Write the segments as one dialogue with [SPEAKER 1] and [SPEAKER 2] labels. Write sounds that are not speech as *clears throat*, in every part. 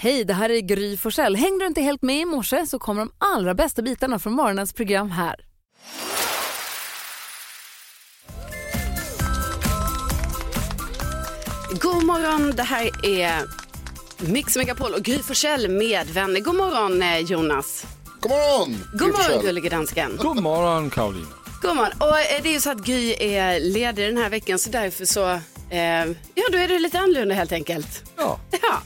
[SPEAKER 1] Hej, det här är Gry Forssell. Hängde du inte helt med i morse så kommer de allra bästa bitarna från morgonens program här.
[SPEAKER 2] God morgon, det här är Mix Megapol och Gry Forssell med vänner. God morgon eh, Jonas.
[SPEAKER 3] God morgon!
[SPEAKER 2] God morgon gullige dansken.
[SPEAKER 4] God morgon Caroline.
[SPEAKER 2] God morgon. Och eh, det är ju så att Gry är ledig den här veckan så därför så, eh, ja då är det lite annorlunda helt enkelt.
[SPEAKER 4] Ja.
[SPEAKER 2] *laughs* Ja,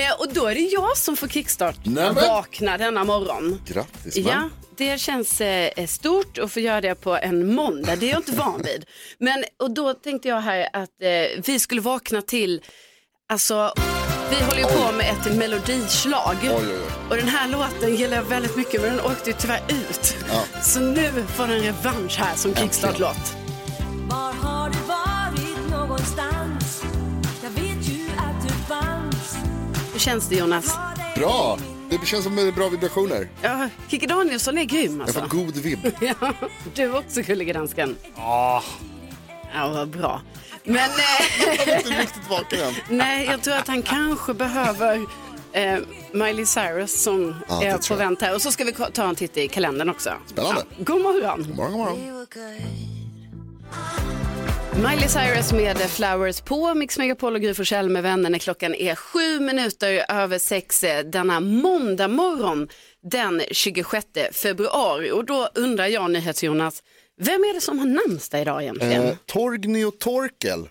[SPEAKER 2] eh, och då är det jag som får kickstart
[SPEAKER 3] Nämen.
[SPEAKER 2] vakna denna morgon.
[SPEAKER 3] Grattis
[SPEAKER 2] Ja, det känns eh, stort att få göra det på en måndag. Det är jag
[SPEAKER 3] *laughs*
[SPEAKER 2] inte van vid. Men och då tänkte jag här att eh, vi skulle vakna till, alltså vi håller ju på med ett melodislag.
[SPEAKER 3] Oj, oj, oj.
[SPEAKER 2] Och den här låten gillar jag väldigt mycket men den åkte ju tyvärr ut.
[SPEAKER 3] Ja.
[SPEAKER 2] Så nu får den revansch här som kickstart-låt.
[SPEAKER 5] Var har du varit någonstans? Jag vet ju att du fanns.
[SPEAKER 2] Hur känns det Jonas?
[SPEAKER 3] Bra! Det känns som eh, bra vibrationer.
[SPEAKER 2] Ja, Kikki Danielsson är grym
[SPEAKER 3] Jag
[SPEAKER 2] alltså.
[SPEAKER 3] får god vibb.
[SPEAKER 2] *laughs* Ja, du också gullige dansken. Ja, vad bra. Men eh,
[SPEAKER 3] *laughs* Jag är inte riktigt vaken än.
[SPEAKER 2] nej, jag tror att han kanske behöver eh, Miley Cyrus som
[SPEAKER 3] Ja, det
[SPEAKER 2] är på
[SPEAKER 3] tror jag.
[SPEAKER 2] vänt här. Och så ska vi ko- ta en titt i kalendern också.
[SPEAKER 3] Spännande.
[SPEAKER 2] Ja, god morgon.
[SPEAKER 3] God morgon, god morgon.
[SPEAKER 2] Miley Cyrus med Flowers på Mix Megapol och Gry Forssell med vänner när klockan är sju minuter över sex eh, denna måndag morgon den 26 februari. Och då undrar jag, NyhetsJonas, vem är det som har namnsdag idag egentligen?
[SPEAKER 3] Eh, Torgny och Torkel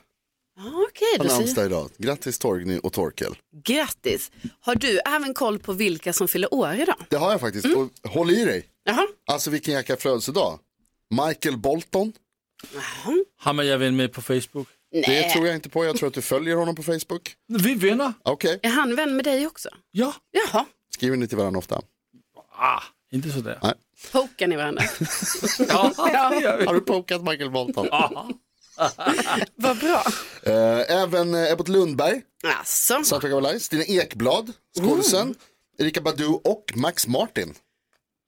[SPEAKER 2] Ja, Okej,
[SPEAKER 3] har
[SPEAKER 2] då säger
[SPEAKER 3] namnsdag idag. Grattis Torgny och Torkel.
[SPEAKER 2] Grattis! Har du även koll på vilka som fyller år idag?
[SPEAKER 3] Det har jag faktiskt. Och håll i dig.
[SPEAKER 2] Mm. Jaha.
[SPEAKER 3] Alltså vilken jäkla födelsedag. Michael Bolton.
[SPEAKER 4] Har man jag vän med på Facebook?
[SPEAKER 3] Det tror jag inte på. Jag tror att du följer honom på Facebook.
[SPEAKER 4] Vi vänner.
[SPEAKER 3] Okej,
[SPEAKER 2] Är han vän med dig också?
[SPEAKER 4] Ja.
[SPEAKER 2] Jaha.
[SPEAKER 3] skriver ni till varandra ofta?
[SPEAKER 4] Ah, inte sådär.
[SPEAKER 3] Nej.
[SPEAKER 2] Pokar ni varandra?
[SPEAKER 4] *laughs*
[SPEAKER 2] *laughs*
[SPEAKER 4] Ja, det gör vi.
[SPEAKER 3] Har du pokat Michael Bolton?
[SPEAKER 2] *laughs* Vad bra.
[SPEAKER 3] Eh, även eh, Ebbot Lundberg,
[SPEAKER 2] Alltså, Mm.
[SPEAKER 3] Soundtrack of Lies, Stina Ekblad, skådisen, Erika Badu och Max Martin.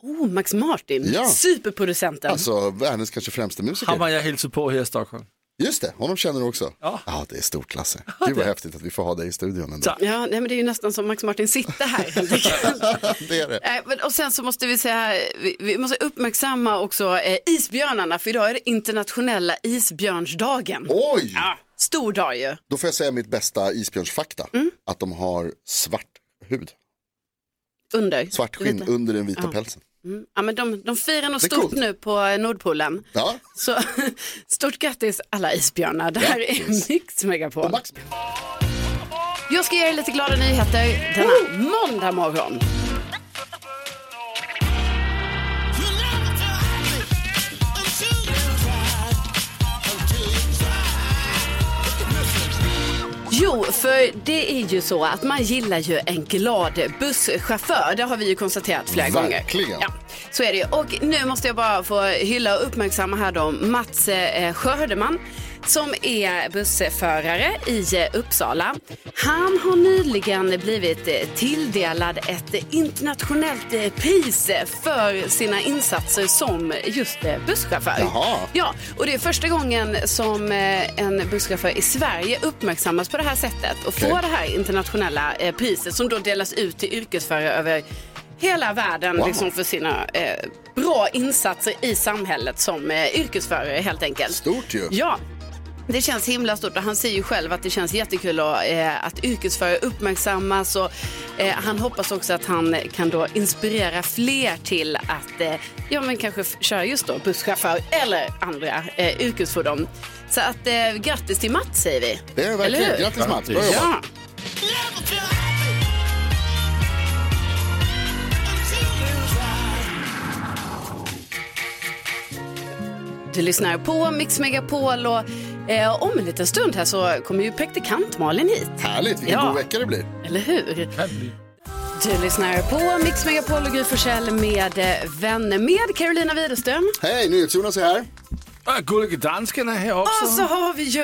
[SPEAKER 2] oh, Max Martin,
[SPEAKER 3] Ja.
[SPEAKER 2] superproducenten.
[SPEAKER 3] Alltså världens kanske främste musiker.
[SPEAKER 4] Har man jag hälsat på här i Stockholm.
[SPEAKER 3] Just det, honom känner du också.
[SPEAKER 4] Ja.
[SPEAKER 3] det är stort Lasse. Gud vad häftigt att vi får ha dig i studion ändå.
[SPEAKER 4] Tack.
[SPEAKER 2] Ja, nej, men det är ju nästan som Max Martin sitter här. helt enkelt.
[SPEAKER 3] det är det.
[SPEAKER 2] Nej, Eh, men- och sen så måste vi säga, vi, vi måste uppmärksamma också eh, isbjörnarna, för idag är det internationella isbjörnsdagen.
[SPEAKER 3] Oj!
[SPEAKER 2] Ja, stor dag ju.
[SPEAKER 3] Då får jag säga mitt bästa isbjörnsfakta.
[SPEAKER 2] Mm.
[SPEAKER 3] Att de har svart hud,
[SPEAKER 2] Under.
[SPEAKER 3] svart skinn
[SPEAKER 2] Lite.
[SPEAKER 3] under den vita pälsen.
[SPEAKER 2] Mm. Ja, men de, de firar nog
[SPEAKER 3] Det är
[SPEAKER 2] stort
[SPEAKER 3] coolt.
[SPEAKER 2] nu på eh, Nordpolen.
[SPEAKER 3] Ja,
[SPEAKER 2] Så *laughs* stort grattis alla isbjörnar. Det här
[SPEAKER 3] Grattis.
[SPEAKER 2] är Mix Megapol.
[SPEAKER 3] och Max.
[SPEAKER 2] Jag ska ge er lite glada nyheter denna måndag morgon. Jo, för det är ju så att man gillar ju en glad busschaufför. Det har vi ju konstaterat flera gånger.
[SPEAKER 3] Verkligen.
[SPEAKER 2] Ja, så är det ju. Och nu måste jag bara få hylla och uppmärksamma här då Mats eh, Skördeman som är bussförare i eh, Uppsala. Han har nyligen blivit eh, tilldelad ett eh, internationellt eh, pris eh, för sina insatser som just eh, busschaufför.
[SPEAKER 3] Jaha.
[SPEAKER 2] Ja, och det är första gången som eh, en busschaufför i Sverige uppmärksammas på det här sättet och
[SPEAKER 3] Okej.
[SPEAKER 2] får det här internationella eh, priset som då delas ut till yrkesförare över hela världen
[SPEAKER 3] Wow.
[SPEAKER 2] liksom för sina eh, bra insatser i samhället som eh, yrkesförare helt enkelt.
[SPEAKER 3] Stort ju.
[SPEAKER 2] Ja. Det känns himla stort och han säger ju själv att det känns jättekul att, eh, att yrkesförare uppmärksammas och eh, han hoppas också att han kan då inspirera fler till att eh, ja men kanske f- köra just då busschaufför eller andra eh, yrkesfordon. Så att eh, grattis till Mats säger vi.
[SPEAKER 3] Det är det
[SPEAKER 2] Eller
[SPEAKER 3] verkligen.
[SPEAKER 2] hur?
[SPEAKER 3] Grattis Mats, bra jobbat.
[SPEAKER 2] Ja. Du lyssnar på Mix Megapol och eh, om en liten stund här så kommer ju praktikant Malin hit.
[SPEAKER 3] Härligt, vilken
[SPEAKER 2] Ja.
[SPEAKER 3] god vecka det blir.
[SPEAKER 2] Eller hur? Du lyssnar på Mix Megapol och Gry Forssell med eh, vänner med Carolina Widerström.
[SPEAKER 3] Hej, NyhetsJonas är här.
[SPEAKER 4] Ah, Gullige dansken är här
[SPEAKER 2] Och så
[SPEAKER 4] också.
[SPEAKER 2] har vi ju...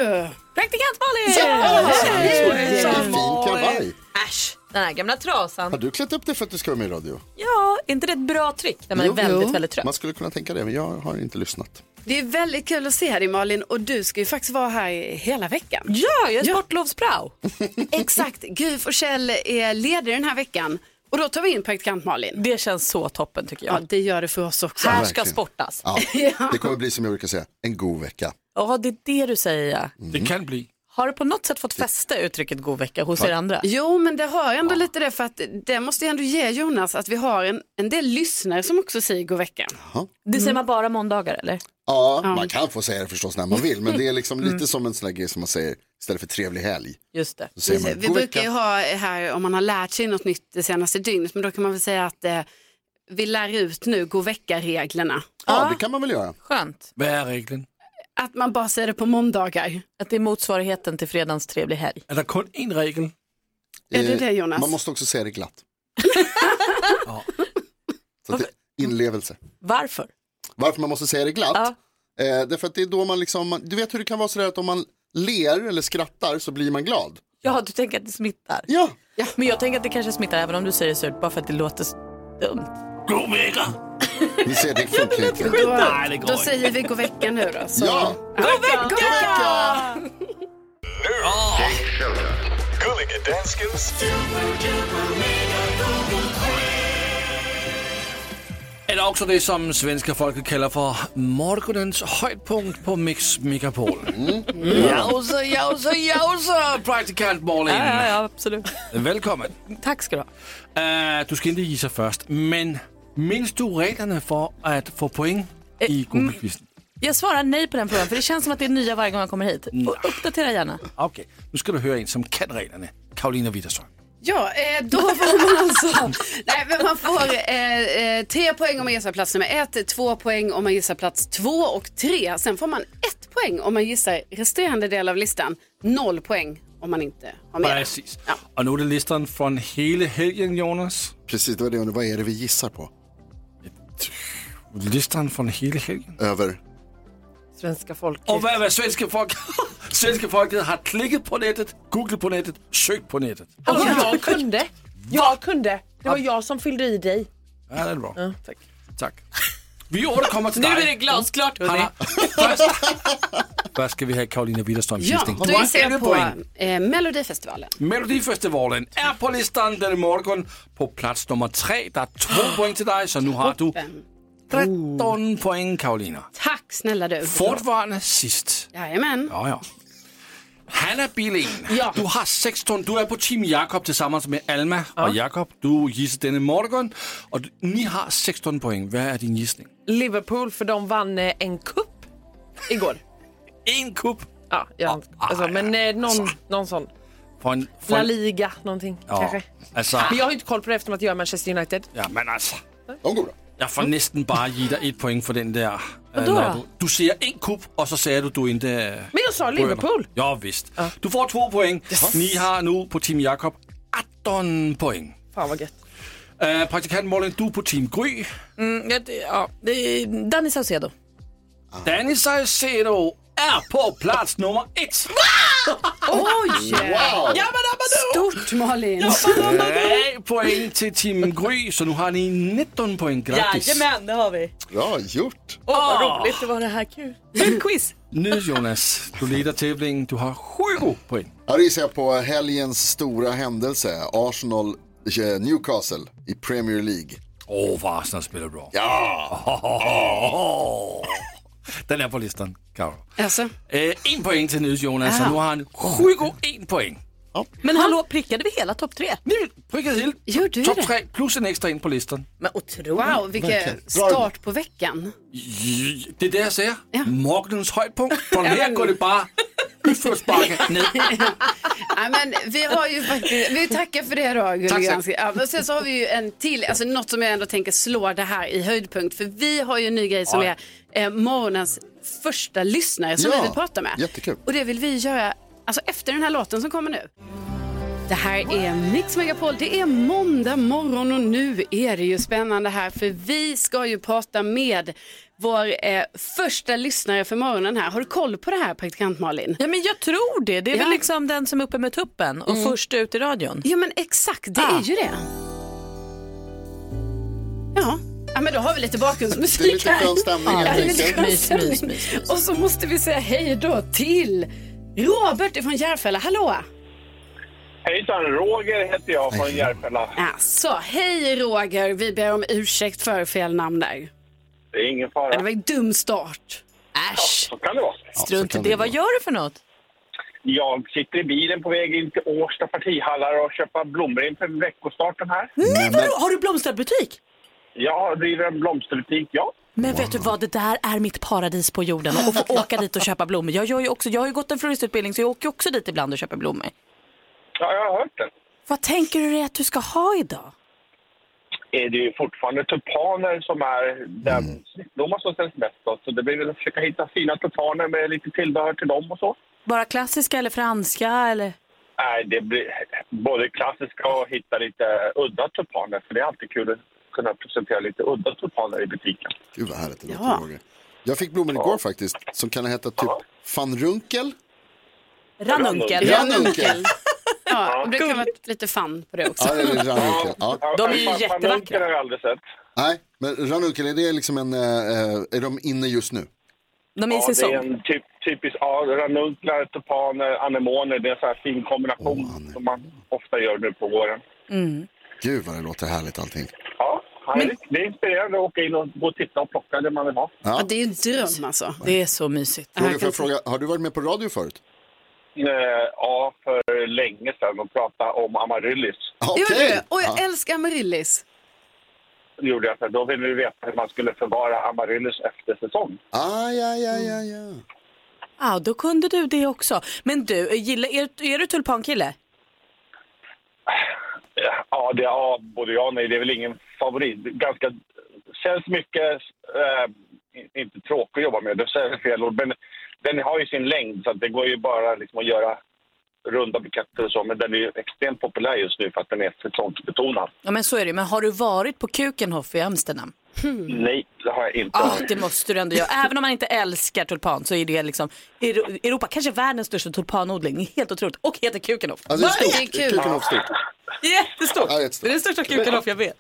[SPEAKER 6] Praktikant
[SPEAKER 3] Ja,
[SPEAKER 6] Malin!
[SPEAKER 3] Vilken fin kavaj.
[SPEAKER 2] Äsch!
[SPEAKER 6] Den här gamla
[SPEAKER 3] Har
[SPEAKER 6] trasan.
[SPEAKER 3] du klätt upp dig för att du ska vara med i radio?
[SPEAKER 6] Ja, inte det ett bra trick när man är
[SPEAKER 3] Jo,
[SPEAKER 6] väldigt,
[SPEAKER 3] jo.
[SPEAKER 6] väldigt trött?
[SPEAKER 3] Man skulle kunna tänka det, men jag har inte lyssnat.
[SPEAKER 2] Det är väldigt kul att se dig Malin och du ska ju faktiskt vara här hela veckan.
[SPEAKER 6] Ja, jag är sportlovsprao.
[SPEAKER 2] *laughs* Exakt, Gry Forssell är ledig den här veckan och då tar vi in praktikant Malin.
[SPEAKER 6] Det känns så toppen tycker jag.
[SPEAKER 2] Ja, det gör det för oss också.
[SPEAKER 6] Här ska
[SPEAKER 3] verkligen.
[SPEAKER 6] sportas. *laughs* Ja.
[SPEAKER 3] Ja, det kommer bli som jag brukar säga, en god vecka. Mm.
[SPEAKER 6] det är det du säger ja.
[SPEAKER 4] Det kan bli.
[SPEAKER 6] Har du på något sätt fått fäste uttrycket god vecka hos er andra?
[SPEAKER 2] Jo, men det har ändå lite det för att det måste jag ändå ge Jonas att vi har en, en del lyssnare som också säger god vecka.
[SPEAKER 6] Det
[SPEAKER 2] Mm.
[SPEAKER 6] säger man bara måndagar eller?
[SPEAKER 3] Ja, man kan få säga det förstås när man vill, men det är liksom lite som en sån här grej som man säger istället för trevlig helg.
[SPEAKER 6] Just det.
[SPEAKER 3] Så säger man,
[SPEAKER 2] Vi
[SPEAKER 3] "God
[SPEAKER 2] brukar
[SPEAKER 3] vecka."
[SPEAKER 2] ju ha här om man har lärt sig något nytt det senaste dygnet, men då kan man väl säga att eh, vi lär ut nu god vecka-reglerna.
[SPEAKER 3] Ja, det kan man väl göra.
[SPEAKER 6] Skönt
[SPEAKER 4] Vad är regeln?
[SPEAKER 2] Att man bara säger det på måndagar.
[SPEAKER 6] att det är motsvarigheten till fredagens trevlig helg.
[SPEAKER 4] Är det kun en regel?
[SPEAKER 2] Är det
[SPEAKER 3] Eh,
[SPEAKER 2] det, Jonas?
[SPEAKER 3] Man måste också säga det glatt. Så att det, inlevelse.
[SPEAKER 6] Varför?
[SPEAKER 3] Varför man måste säga det glatt?
[SPEAKER 6] Ja.
[SPEAKER 3] Eh, därför att det är då man liksom, man- du vet hur det kan vara sådär att om man ler eller skrattar så blir man glad.
[SPEAKER 6] Ja, du tänker att det smittar.
[SPEAKER 3] Ja,
[SPEAKER 6] Men jag tänker att det kanske smittar även om du säger det surt bara för att det låter s- dumt.
[SPEAKER 4] God vecka!
[SPEAKER 3] *laughs* ni ser det funkar inte.
[SPEAKER 2] Då,
[SPEAKER 4] Nej, det går
[SPEAKER 2] då
[SPEAKER 4] inte.
[SPEAKER 2] säger vi god vecka nu då. Så.
[SPEAKER 3] Ja,
[SPEAKER 2] God vecka!
[SPEAKER 7] Gulliga Danskens
[SPEAKER 4] Eller också det som svenska folket kallar för morgonens höjdpunkt på Mix Megapol.
[SPEAKER 3] Mm.
[SPEAKER 4] Mm.
[SPEAKER 2] Mm.
[SPEAKER 4] Jausa, jausa, jausa, praktikant Malin.
[SPEAKER 6] Ja, ja, ja, absolut.
[SPEAKER 4] Välkommen.
[SPEAKER 6] Tack ska du ha.
[SPEAKER 4] Eh, du ska inte gissa först, men minns du reglerna för att få poäng i Google-quizen?
[SPEAKER 6] Jag svarar nej på den frågan för det känns som att det är nya varje gång jag kommer hit.
[SPEAKER 3] Mm.
[SPEAKER 6] Och uppdatera gärna.
[SPEAKER 4] Okej, nu ska du höra en som kan reglerna. Karolina Widerström.
[SPEAKER 2] Ja, eh, då får
[SPEAKER 6] *laughs*
[SPEAKER 2] man alltså... Nej, men man får eh, eh, tre poäng om man gissar plats nummer ett, två poäng om man gissar plats två och tre. Sen får man ett poäng om man gissar resterande del av listan. Noll poäng om man inte har med.
[SPEAKER 4] Precis.
[SPEAKER 2] Ja.
[SPEAKER 4] Och nu är det listan från hela helgen, Jonas.
[SPEAKER 3] precis det var det jag undrade. vad är det vi gissar på?
[SPEAKER 4] Listan från hela helgen.
[SPEAKER 3] Över,
[SPEAKER 6] Svenska folket.
[SPEAKER 4] Och vad, vad svenska folk... *laughs* svenska folket har klickat på nätet, googlat på nätet, sökt på nätet.
[SPEAKER 8] Alltså, jag kunde. Jag kunde. Det var jag som fyllde i dig.
[SPEAKER 4] Ja, det är bra. tack. Vi
[SPEAKER 2] *laughs*
[SPEAKER 4] återkommer till dig.
[SPEAKER 6] glasklart hörni.
[SPEAKER 4] Hanna, först, först ska vi ha Karolina Widerström
[SPEAKER 2] Ja,
[SPEAKER 4] Gisting.
[SPEAKER 2] då gissar jag på eh, Melodifestivalen.
[SPEAKER 4] Melodifestivalen är på listan den morgon på plats nummer tre. Det är
[SPEAKER 2] *gasps*
[SPEAKER 4] två poäng till dig, så nu har du 13 poäng Karolina.
[SPEAKER 2] Tack snälla du.
[SPEAKER 4] Fortfarande sist.
[SPEAKER 2] Jajamän.
[SPEAKER 4] Ja, ja. Hanna Billing, du har 16. Du är på Team Jakob tillsammans med Alma och Jakob. Du gissar denna morgon och du- ni har 16 poäng. Vad är din gissning?
[SPEAKER 8] Liverpool, för de vann eh, en cup igår.
[SPEAKER 4] En kupp
[SPEAKER 8] Ja, jag,
[SPEAKER 2] Ah,
[SPEAKER 8] alltså, men eh, någon, någon sån.
[SPEAKER 4] på en... på
[SPEAKER 8] La
[SPEAKER 4] en-
[SPEAKER 8] Liga, någonting
[SPEAKER 4] Ja,
[SPEAKER 8] kanske.
[SPEAKER 4] alltså,
[SPEAKER 8] Men jag har ju inte koll på det eftersom att jag är Manchester United.
[SPEAKER 4] ja, men alltså.
[SPEAKER 3] de går bra.
[SPEAKER 4] Jag får nästan bara ge dig ett poäng för den där. äh,
[SPEAKER 8] då?
[SPEAKER 4] när Du, du säger en kupp och så säger du du inte... äh,
[SPEAKER 8] Men jag sa Liverpool.
[SPEAKER 4] Ja, visst. Du får två poäng. Ni har nu på Team Jakob 18 poäng.
[SPEAKER 8] Fan vad gött.
[SPEAKER 4] Äh, praktikant Malin, du på Team Gry.
[SPEAKER 6] Mm, ja, det- ja, det är Danny Saucedo.
[SPEAKER 4] Danny Saucedo är på plats nummer ett.
[SPEAKER 2] Oj!
[SPEAKER 3] Wow!
[SPEAKER 2] Stort Malin.
[SPEAKER 4] Tre Eh. poäng till Team Gry, så nu har ni 19 poäng. Grattis!
[SPEAKER 6] det har vi.
[SPEAKER 3] Bra gjort!
[SPEAKER 6] Åh, vad roligt, det var det här kul. Kul quiz.
[SPEAKER 4] Nu Jonas, du leder tävlingen. Du har 20 poäng.
[SPEAKER 3] Här gissar jag på helgens stora händelse, Arsenal eh, Newcastle i Premier League.
[SPEAKER 4] Åh, oh, vad Arsenal spelar bra.
[SPEAKER 3] Ja,
[SPEAKER 4] Den är på listan, Karo.
[SPEAKER 2] Alltså,
[SPEAKER 4] Eh, en poäng till nu Jonas, så nu har han 21 poäng.
[SPEAKER 6] Men hallå, prickade vi hela topp tre?
[SPEAKER 4] Nu prickar till.
[SPEAKER 2] Gjorde vi
[SPEAKER 4] Topp
[SPEAKER 2] det?
[SPEAKER 4] tre plus en extra in på listan.
[SPEAKER 6] Men otroligt.
[SPEAKER 2] wow, vilken start på veckan. *laughs*
[SPEAKER 4] Det är det jag säger. Morgonens höjdpunkt. Från här går det bara utförsbacke ner.
[SPEAKER 2] Ja, men vi har ju faktiskt, vi tackar för det då
[SPEAKER 4] Tack, tack.
[SPEAKER 2] Gullig ja, men Sen så har vi ju en till, alltså något som jag ändå tänker slå det här i höjdpunkt. För vi har ju en ny grej som
[SPEAKER 4] Ja.
[SPEAKER 2] är eh, morgonens första lyssnare som
[SPEAKER 3] Ja,
[SPEAKER 2] vi vill prata med.
[SPEAKER 3] jättekul.
[SPEAKER 2] Och det vill vi göra alltså, efter den här låten som kommer nu. Det här är Mix Megapol. Det är måndag morgon och nu är det ju spännande här för vi ska ju prata med vår eh, första lyssnare för morgonen här. Har du koll på det här praktikant Malin?
[SPEAKER 6] Ja, men jag tror det. Det är
[SPEAKER 2] Ja. Mm.
[SPEAKER 6] väl liksom den som är uppe med tuppen och först ut i radion.
[SPEAKER 2] Ja men exakt, det
[SPEAKER 6] Ah.
[SPEAKER 2] är ju det. Ja, men då har vi lite bakgrundsmusik
[SPEAKER 3] Det är lite
[SPEAKER 2] här.
[SPEAKER 3] skön stämning
[SPEAKER 2] Ja,
[SPEAKER 3] helt
[SPEAKER 2] det är lite
[SPEAKER 3] enkelt.
[SPEAKER 2] skön
[SPEAKER 6] Mys, mys,
[SPEAKER 2] stämning.
[SPEAKER 6] mys, mys.
[SPEAKER 2] Och så måste vi säga hej då till Robert från Järfälla. Hallå!
[SPEAKER 7] Hejsan, Roger heter jag från Järfälla.
[SPEAKER 2] Alltså, hej Roger! Vi ber om ursäkt för fel namn där.
[SPEAKER 7] Det är ingen
[SPEAKER 2] Ja, Det
[SPEAKER 7] fara.
[SPEAKER 2] var en dum start. Äsch!
[SPEAKER 7] Så kan det vara.
[SPEAKER 6] Strunt i
[SPEAKER 3] kan
[SPEAKER 6] det.
[SPEAKER 3] det
[SPEAKER 6] Vad
[SPEAKER 3] gå.
[SPEAKER 6] gör du för något?
[SPEAKER 7] Jag sitter i bilen på väg in till Årsta partihallar och köper blommor inför veckostarten här.
[SPEAKER 6] Nej, vadå? Har du blomsterbutik?
[SPEAKER 7] Jag driver en blomsterbutik, ja.
[SPEAKER 6] Men vet du vad, det där är mitt paradis på jorden. Att *laughs* få åka dit och köpa blommor. Jag, gör ju också, jag har ju gått en floristutbildning så jag åker ju också dit ibland och köper blommor.
[SPEAKER 7] Ja, jag har hört det.
[SPEAKER 6] Vad tänker du dig att du ska ha idag?
[SPEAKER 7] Är det ju fortfarande tulpaner som är den snittblomma som säljs mest då. Så det blir väl att försöka hitta fina tulpaner med lite tillbehör till dem och så.
[SPEAKER 6] Bara klassiska eller franska eller?
[SPEAKER 7] Nej, det blir både klassiska och hitta lite udda tulpaner. För det är alltid kul att kunna presentera lite udda tulpaner i butiken.
[SPEAKER 3] Gud vad härligt det låter
[SPEAKER 2] Ja.
[SPEAKER 3] Roger. Jag fick blommor igår faktiskt som kan heta typ van Runkel.
[SPEAKER 6] Ranunkel.
[SPEAKER 7] Ja.
[SPEAKER 3] Ranunkel.
[SPEAKER 2] Ja, det kan vara lite fan på det också.
[SPEAKER 3] Ja, det är Ranunkel. Ja.
[SPEAKER 6] De är ju
[SPEAKER 7] Fan- fan-
[SPEAKER 6] jättevackra.
[SPEAKER 7] Fanunken har jag aldrig sett.
[SPEAKER 3] Nej, men Ranunkel, är det liksom en, eh, eh, är de inne just nu?
[SPEAKER 6] De är i
[SPEAKER 7] Ja, det är
[SPEAKER 6] säsong.
[SPEAKER 7] en typ, typisk ja, ranunklar, tulpaner, anemoner. Det är en sån här fin kombination som man ofta gör nu på våren.
[SPEAKER 3] Gud vad det låter härligt allting.
[SPEAKER 7] Ja, härligt. det är inspirerande att åka in och gå och titta och plocka det man vill ha.
[SPEAKER 2] *laughs* Ja, det är ju en dröm alltså.
[SPEAKER 6] Det är så mysigt.
[SPEAKER 3] Roger, får jag fråga, har du varit med på radio förut?
[SPEAKER 7] Eh, Ja, för länge sedan och prata om amaryllis.
[SPEAKER 3] Okej!
[SPEAKER 2] Gör du? Och jag
[SPEAKER 3] Ja.
[SPEAKER 2] älskar amaryllis.
[SPEAKER 7] Det gjorde jag. för Då ville vi veta hur man skulle förvara amaryllis efter säsong.
[SPEAKER 3] Ah, ja, ja, ja, ja.
[SPEAKER 6] Ja, då kunde du det också. Men du, gillar, är, är du tulpankille?
[SPEAKER 7] Eh, Ja, det är ja, både ja och nej. Det är väl ingen favorit. Ganska, säljs mycket, eh, i- inte tråkigt att jobba med, det säger jag fel ord, men den har ju sin längd så att det går ju bara liksom att göra runda buketter och så, men den är ju extremt populär just nu för att den är säsongsbetonad.
[SPEAKER 6] Ja, men så är det ju. Men har du varit på Kukenhof i Amsterdam?
[SPEAKER 2] Mm.
[SPEAKER 7] Nej, det har jag inte.
[SPEAKER 2] Ah,
[SPEAKER 6] Ja, det måste du ändå göra. Även om man inte älskar tulpan så är det liksom Euro- Europa, kanske världens största tulpanodling. Det är Helt otroligt. Och heter Kukenhof.
[SPEAKER 3] Alltså det är
[SPEAKER 2] Det är
[SPEAKER 3] stort.
[SPEAKER 2] kul.
[SPEAKER 3] Kuken och stort.
[SPEAKER 6] Jättestort.
[SPEAKER 3] Ja, jättestort.
[SPEAKER 6] Det är den största Kukenhof jag vet.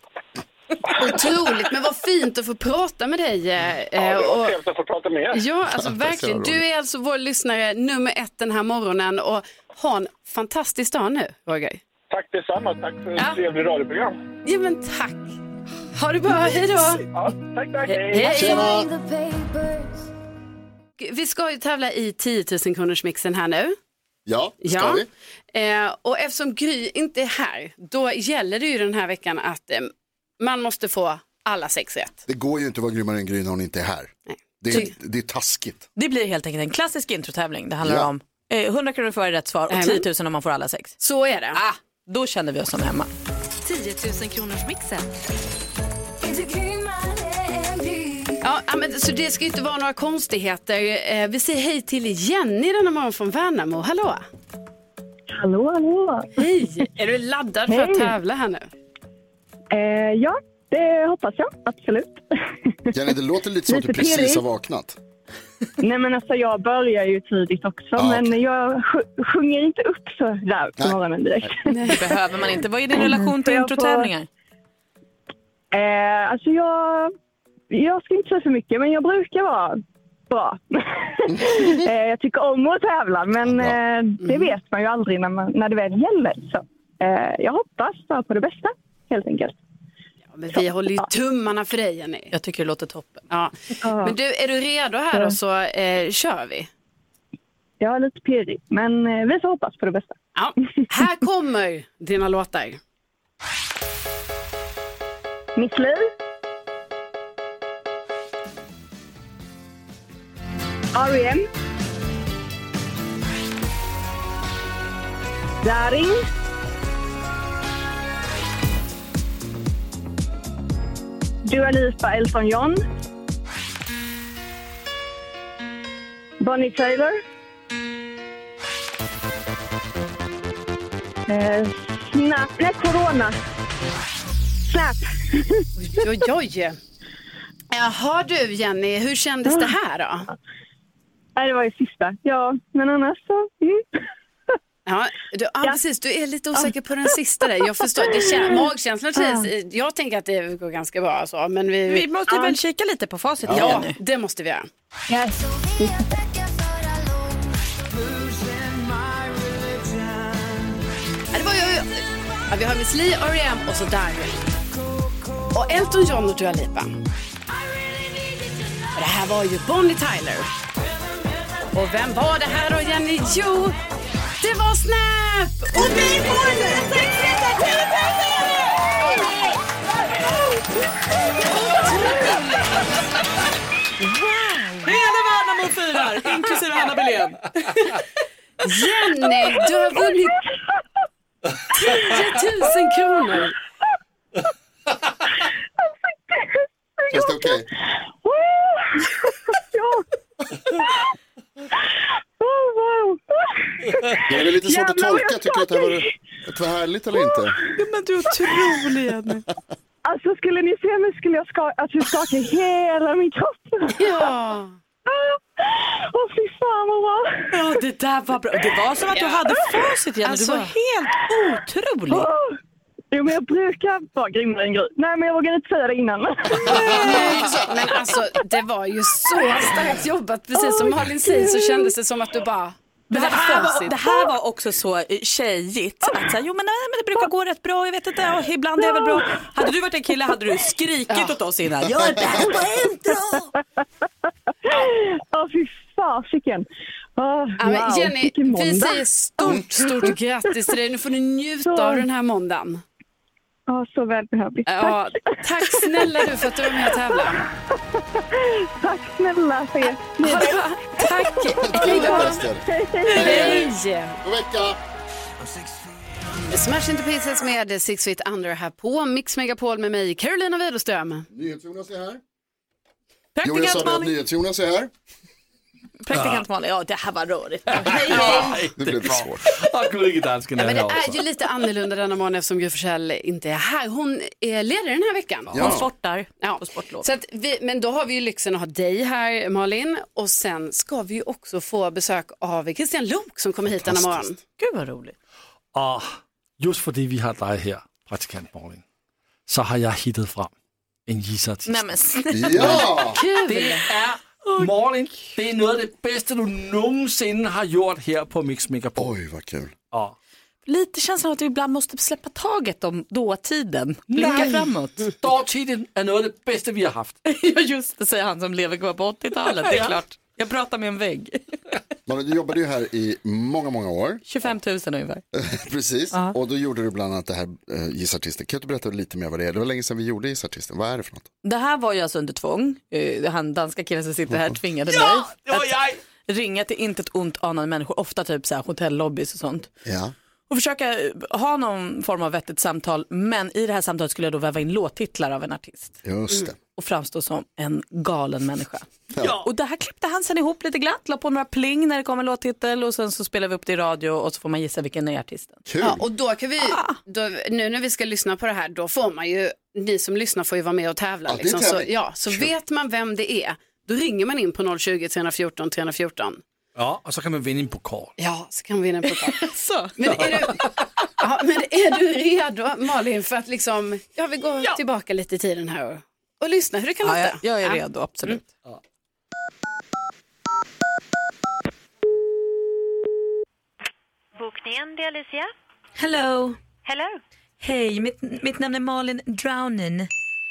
[SPEAKER 2] Otroligt, men vad fint att få prata med dig. eh,
[SPEAKER 7] Ja, det var
[SPEAKER 2] och-
[SPEAKER 7] trevligt att få prata med er.
[SPEAKER 2] Ja, alltså
[SPEAKER 3] Ja, *laughs* det ser
[SPEAKER 2] verkligen.
[SPEAKER 3] jag
[SPEAKER 2] Du är alltså vår lyssnare nummer ett den här morgonen och ha en fantastisk dag nu, Roger.
[SPEAKER 7] Tack detsamma. Tack för ett
[SPEAKER 2] Ja.
[SPEAKER 7] trevligt radioprogram.
[SPEAKER 2] Ja, men tack. Ha det bra, hej då.
[SPEAKER 7] Ja, tack, tack.
[SPEAKER 3] Tjena!
[SPEAKER 2] Vi ska ju tävla i 10 000 kronors mixen här nu.
[SPEAKER 3] Ja, ska vi?
[SPEAKER 2] Eh, och eftersom Gry inte är här, då gäller det ju den här veckan att eh, man måste få alla sex rätt.
[SPEAKER 3] Det går ju inte att vara grymmare än Gry när hon inte är här. Det är, det är taskigt.
[SPEAKER 6] Det blir helt enkelt en klassisk introtävling. Det handlar
[SPEAKER 3] Ja.
[SPEAKER 6] om eh, 100 kronor för varje rätt svar och
[SPEAKER 2] Jajamän.
[SPEAKER 6] 10 000 om man får alla sex.
[SPEAKER 2] Så är det.
[SPEAKER 6] Ah, då känner vi oss som hemma.
[SPEAKER 5] 10 000 kronors mixen.
[SPEAKER 2] Ja, ja, men, så det ska ju inte vara några konstigheter. Eh, vi säger hej till Jenny denna morgon från Värnamo. Hallå!
[SPEAKER 9] Hallå, hallå.
[SPEAKER 2] Hej! Är du laddad för att
[SPEAKER 9] Hej.
[SPEAKER 2] tävla här nu?
[SPEAKER 9] Eh, ja, det hoppas jag.
[SPEAKER 3] *laughs*
[SPEAKER 9] Absolut.
[SPEAKER 3] Jenny, det låter lite som att du
[SPEAKER 9] Lite
[SPEAKER 3] precis
[SPEAKER 9] pirrig.
[SPEAKER 3] har vaknat.
[SPEAKER 9] Nej, men alltså, jag börjar ju tidigt också,
[SPEAKER 3] Ja,
[SPEAKER 9] men
[SPEAKER 3] okej.
[SPEAKER 9] jag sj- sjunger inte upp så där på
[SPEAKER 3] Nej.
[SPEAKER 9] morgonen direkt.
[SPEAKER 6] Det behöver man inte. Vad är
[SPEAKER 2] Mm.
[SPEAKER 6] din relation till
[SPEAKER 9] Får jag få-
[SPEAKER 6] introtävlingar?
[SPEAKER 9] *laughs* Eh, alltså, jag, jag ska inte säga för mycket, men jag brukar vara
[SPEAKER 3] *laughs*
[SPEAKER 9] bra. eh, jag tycker om att tävla, men
[SPEAKER 3] Ja, bra. Mm.
[SPEAKER 9] eh, det vet man ju aldrig när, man, när det väl gäller. Så, eh, jag hoppas bara på det bästa, helt enkelt.
[SPEAKER 2] Ja, men vi håller ju tummarna för dig, Jenny.
[SPEAKER 6] Jag tycker det låter toppen.
[SPEAKER 2] Ja.
[SPEAKER 9] Ja.
[SPEAKER 2] Men du, är du redo här då så eh, kör vi.
[SPEAKER 9] Jag är lite pirrig, men eh, vi får hoppas på det bästa.
[SPEAKER 2] Ja. Här kommer dina låtar.
[SPEAKER 9] Mitt liv. R.E.M. Daring. Dua Lipa, Elton John. Bonnie Taylor. Eh, snap. Nej, Corona. Snap.
[SPEAKER 2] Oj, oj, oj. Jaha du, Jenny, hur kändes det här då?
[SPEAKER 9] Nej, det var ju sista. Ja, men annars så... Mm.
[SPEAKER 2] Ja, du, ja, precis. Du är lite osäker på den sista där. Jag förstår. Det kän, magkänslan säger, jag tänker att det går ganska bra. Alltså, men vi,
[SPEAKER 6] Vi måste väl kika lite på facit
[SPEAKER 2] ja,
[SPEAKER 6] igen nu.
[SPEAKER 2] det måste vi göra. Ja, det var ju, ja, vi har Miss Li, R.E.M. och så Darin. Och Elton John och Dua Lipa. Och det här var ju Bonnie Tyler. Och vem var det här då Jenny? Jo, det var Snap! Och vi får
[SPEAKER 6] Hela Värnamo firar, inklusive Hanna Billén.
[SPEAKER 2] Jenny, du har vunnit 10 000 kronor.
[SPEAKER 3] Känns det okej?
[SPEAKER 9] Ja. Oh, wow.
[SPEAKER 3] Det är väl lite svårt att
[SPEAKER 9] Jävlar vad
[SPEAKER 3] tolka.
[SPEAKER 9] jag
[SPEAKER 3] Tycker du att det här var,
[SPEAKER 9] skakar.
[SPEAKER 3] att det var härligt eller inte?
[SPEAKER 6] Men du är otrolig Jenny.
[SPEAKER 9] Alltså skulle ni se mig skulle jag ska, alltså, jag skaka hela min kropp.
[SPEAKER 2] Ja.
[SPEAKER 9] Åh fy fan vad bra.
[SPEAKER 6] Ja, det där var bra. Det var som att du hade facit Jenny.
[SPEAKER 2] Alltså.
[SPEAKER 6] Du var helt otrolig.
[SPEAKER 9] Åh. Jo men jag brukar vara grymmare än Gry. Nej men jag vågade inte säga det innan.
[SPEAKER 2] Nej, Men alltså, *laughs* det var ju så starkt jobbat. Precis som Malin säger så kändes det som att du bara... Det
[SPEAKER 6] Men det, här var,
[SPEAKER 2] facit.
[SPEAKER 6] det här var också så eh, tjejigt. Att så här, jo men, nej, men det brukar gå rätt bra, jag vet inte, ja, ibland är det väl bra. Hade du varit en kille hade du skrikit åt oss innan. Jag är bäst på intro!
[SPEAKER 9] Åh fy fasiken. Åh,
[SPEAKER 2] Ja, men
[SPEAKER 9] wow,
[SPEAKER 2] Jenny,
[SPEAKER 9] vilken
[SPEAKER 2] vi
[SPEAKER 9] måndag.
[SPEAKER 2] säger stort, stort grattis till dig. Nu får du njuta av den här måndagen.
[SPEAKER 9] Ja, så välbehövligt.
[SPEAKER 2] Ja, tack snälla du för att du var med och tävlade.
[SPEAKER 9] Tack snälla för er.
[SPEAKER 2] Ha det bra. Tack.
[SPEAKER 3] Det är lätt älskar.
[SPEAKER 2] Hej.
[SPEAKER 3] God vecka!
[SPEAKER 2] Smash Into Pieces med Six Feet Under här på Mix Megapol med mig, Carolina Widerström.
[SPEAKER 3] NyhetsJonas är här. Jo, jag sa
[SPEAKER 6] Praktikant
[SPEAKER 3] det att
[SPEAKER 6] Malin.
[SPEAKER 3] NyhetsJonas är här.
[SPEAKER 6] Praktikant Malin, ja det här var rörigt. Hej,
[SPEAKER 3] Det blev lite svårt.
[SPEAKER 4] Og kollegedansken
[SPEAKER 2] Ja,
[SPEAKER 4] er
[SPEAKER 2] men det
[SPEAKER 4] her også.
[SPEAKER 2] är ju lite annorlunda denna morgon eftersom Gry Forssell inte är här. Hon är ledig den här veckan.
[SPEAKER 6] Hon
[SPEAKER 3] Ja,
[SPEAKER 6] sportar
[SPEAKER 2] Ja.
[SPEAKER 6] på sportlov.
[SPEAKER 2] Så att vi, men då har vi ju lyxen att ha dig här Malin och sen ska vi ju också få besök av Christian Lok som kommer hit denna morgon.
[SPEAKER 6] Gud vad roligt.
[SPEAKER 4] Og Ah, just fordi vi har dig her, praktikant Morgen, så har jeg hittet frem en Yeezy
[SPEAKER 6] Nej men snälla.
[SPEAKER 3] ja.
[SPEAKER 4] Det er Morgen, det er noget af det bedste, du nogensinde har gjort her på Mix Megapol.
[SPEAKER 3] Oj, vad kul.
[SPEAKER 4] Og
[SPEAKER 6] Lite känslan av att vi ibland måste släppa taget om dåtiden. Blicka framåt.
[SPEAKER 4] dårtiden er noget af det bedste, vi har haft.
[SPEAKER 6] *laughs* Ja just det, säger han som lever kvar på 80-talet. Det är klart. Jag pratar med en vägg.
[SPEAKER 3] Man, du jobbade ju här i många, många år. *laughs*
[SPEAKER 6] 25 000 ungefär.
[SPEAKER 3] Precis. Och då gjorde du bland annat det här eh, Gissartisten. Kan du inte berätta lite mer vad det är? Det var länge sedan vi gjorde Gissartisten. Vad är det för något?
[SPEAKER 6] Det här var ju alltså under tvång. Eh, Han danska killen som sitter här tvingade mig att ringa till intet ont anande människor, ofta typ så här hotellobbys och sånt.
[SPEAKER 3] Ja.
[SPEAKER 6] Och försöka eh, ha någon form av vettigt samtal, men i det här samtalet skulle jag då väva in låttitlar av en artist Mm.
[SPEAKER 3] Just det.
[SPEAKER 6] och framstå som en galen människa. Och det här klippte han sen ihop lite glatt, la på några pling när det kom en låttitel och sen så spelade vi upp det i radio och så får man gissa vilken är artisten.
[SPEAKER 3] Kul.
[SPEAKER 2] Ja, och då kan vi, då, nu när vi ska lyssna på det här, då får man ju, ni som lyssnar får ju vara med och tävla.
[SPEAKER 3] Ja, det är
[SPEAKER 2] liksom. så,
[SPEAKER 3] tävling.
[SPEAKER 2] ja, så vet man vem det är, då ringer man in på 020 314 314.
[SPEAKER 4] Ja, og så kan man vinde en pokal.
[SPEAKER 2] Ja, så kan vi vinna en pokal.
[SPEAKER 6] Så.
[SPEAKER 2] Men är, du, ja, men är du redo Malin för att liksom, ja vi går tillbaka lite i tiden här och, och lyssna hur det kan
[SPEAKER 6] Ja,
[SPEAKER 2] låta.
[SPEAKER 6] jag, jag är redo, absolut.
[SPEAKER 10] Bokningen, det är Alicia.
[SPEAKER 5] Hello.
[SPEAKER 10] Hello.
[SPEAKER 5] Hej, mitt, mitt namn är Malin Drownin.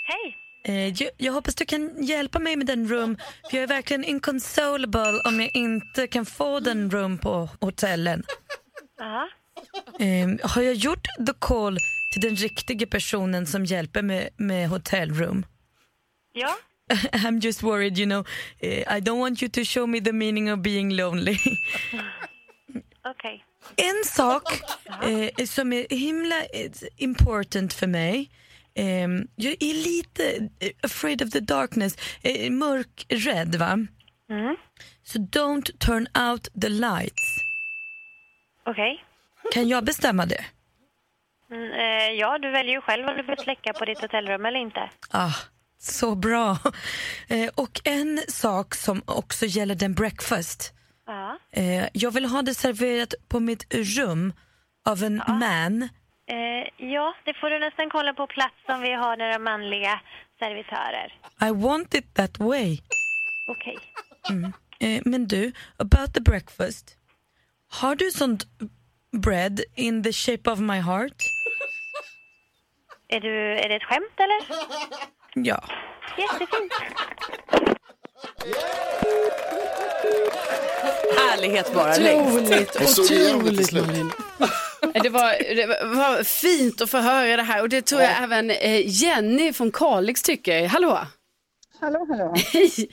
[SPEAKER 10] Hej.
[SPEAKER 5] Eh, jag, jag hoppas du kan hjälpa mig med den room. För jag är verkligen inconsolable om jag inte kan få den room på hotellen.
[SPEAKER 10] Ja.
[SPEAKER 5] Eh, har jag gjort the call till den riktiga personen som hjälper mig med hotellrum?
[SPEAKER 10] Ja.
[SPEAKER 5] *laughs* I'm just worried, you know. Eh, I don't want you to show me the meaning of being
[SPEAKER 6] *laughs*
[SPEAKER 5] lonely.
[SPEAKER 10] Okej.
[SPEAKER 5] en sak eh, som är himla eh, important för mig. Ehm, jag är lite eh, afraid of the darkness, eh, mörkrädd va? Så don't turn out the lights.
[SPEAKER 10] Okej.
[SPEAKER 5] Kan jag bestämma det?
[SPEAKER 10] Mm, eh, ja, du väljer ju själv om du vill släcka på ditt hotellrum eller inte.
[SPEAKER 5] Ah, så bra. Eh, och en sak som också gäller den breakfast.
[SPEAKER 10] Ja.
[SPEAKER 5] Eh, jag vill ha det serverat på mitt rum av en man.
[SPEAKER 10] Eh, ja, det får du nästan kolla på plats om vi har några manliga servitörer.
[SPEAKER 5] I want it that way.
[SPEAKER 10] Okej.
[SPEAKER 5] Mm. Eh, men du, about the breakfast. Har du sånt bread in the shape of my heart?
[SPEAKER 10] Är, du, är det ett skämt *laughs* eller?
[SPEAKER 5] Ja.
[SPEAKER 10] Jättefint.
[SPEAKER 6] Härlighet bara
[SPEAKER 2] Otroligt,
[SPEAKER 6] längst.
[SPEAKER 2] otroligt Malin. Eh, Det var, det var fint att få höra det här och det tror jag även eh, Jenny från Kalix tycker. Hallå!
[SPEAKER 11] Hallå, hallå.
[SPEAKER 2] Hej!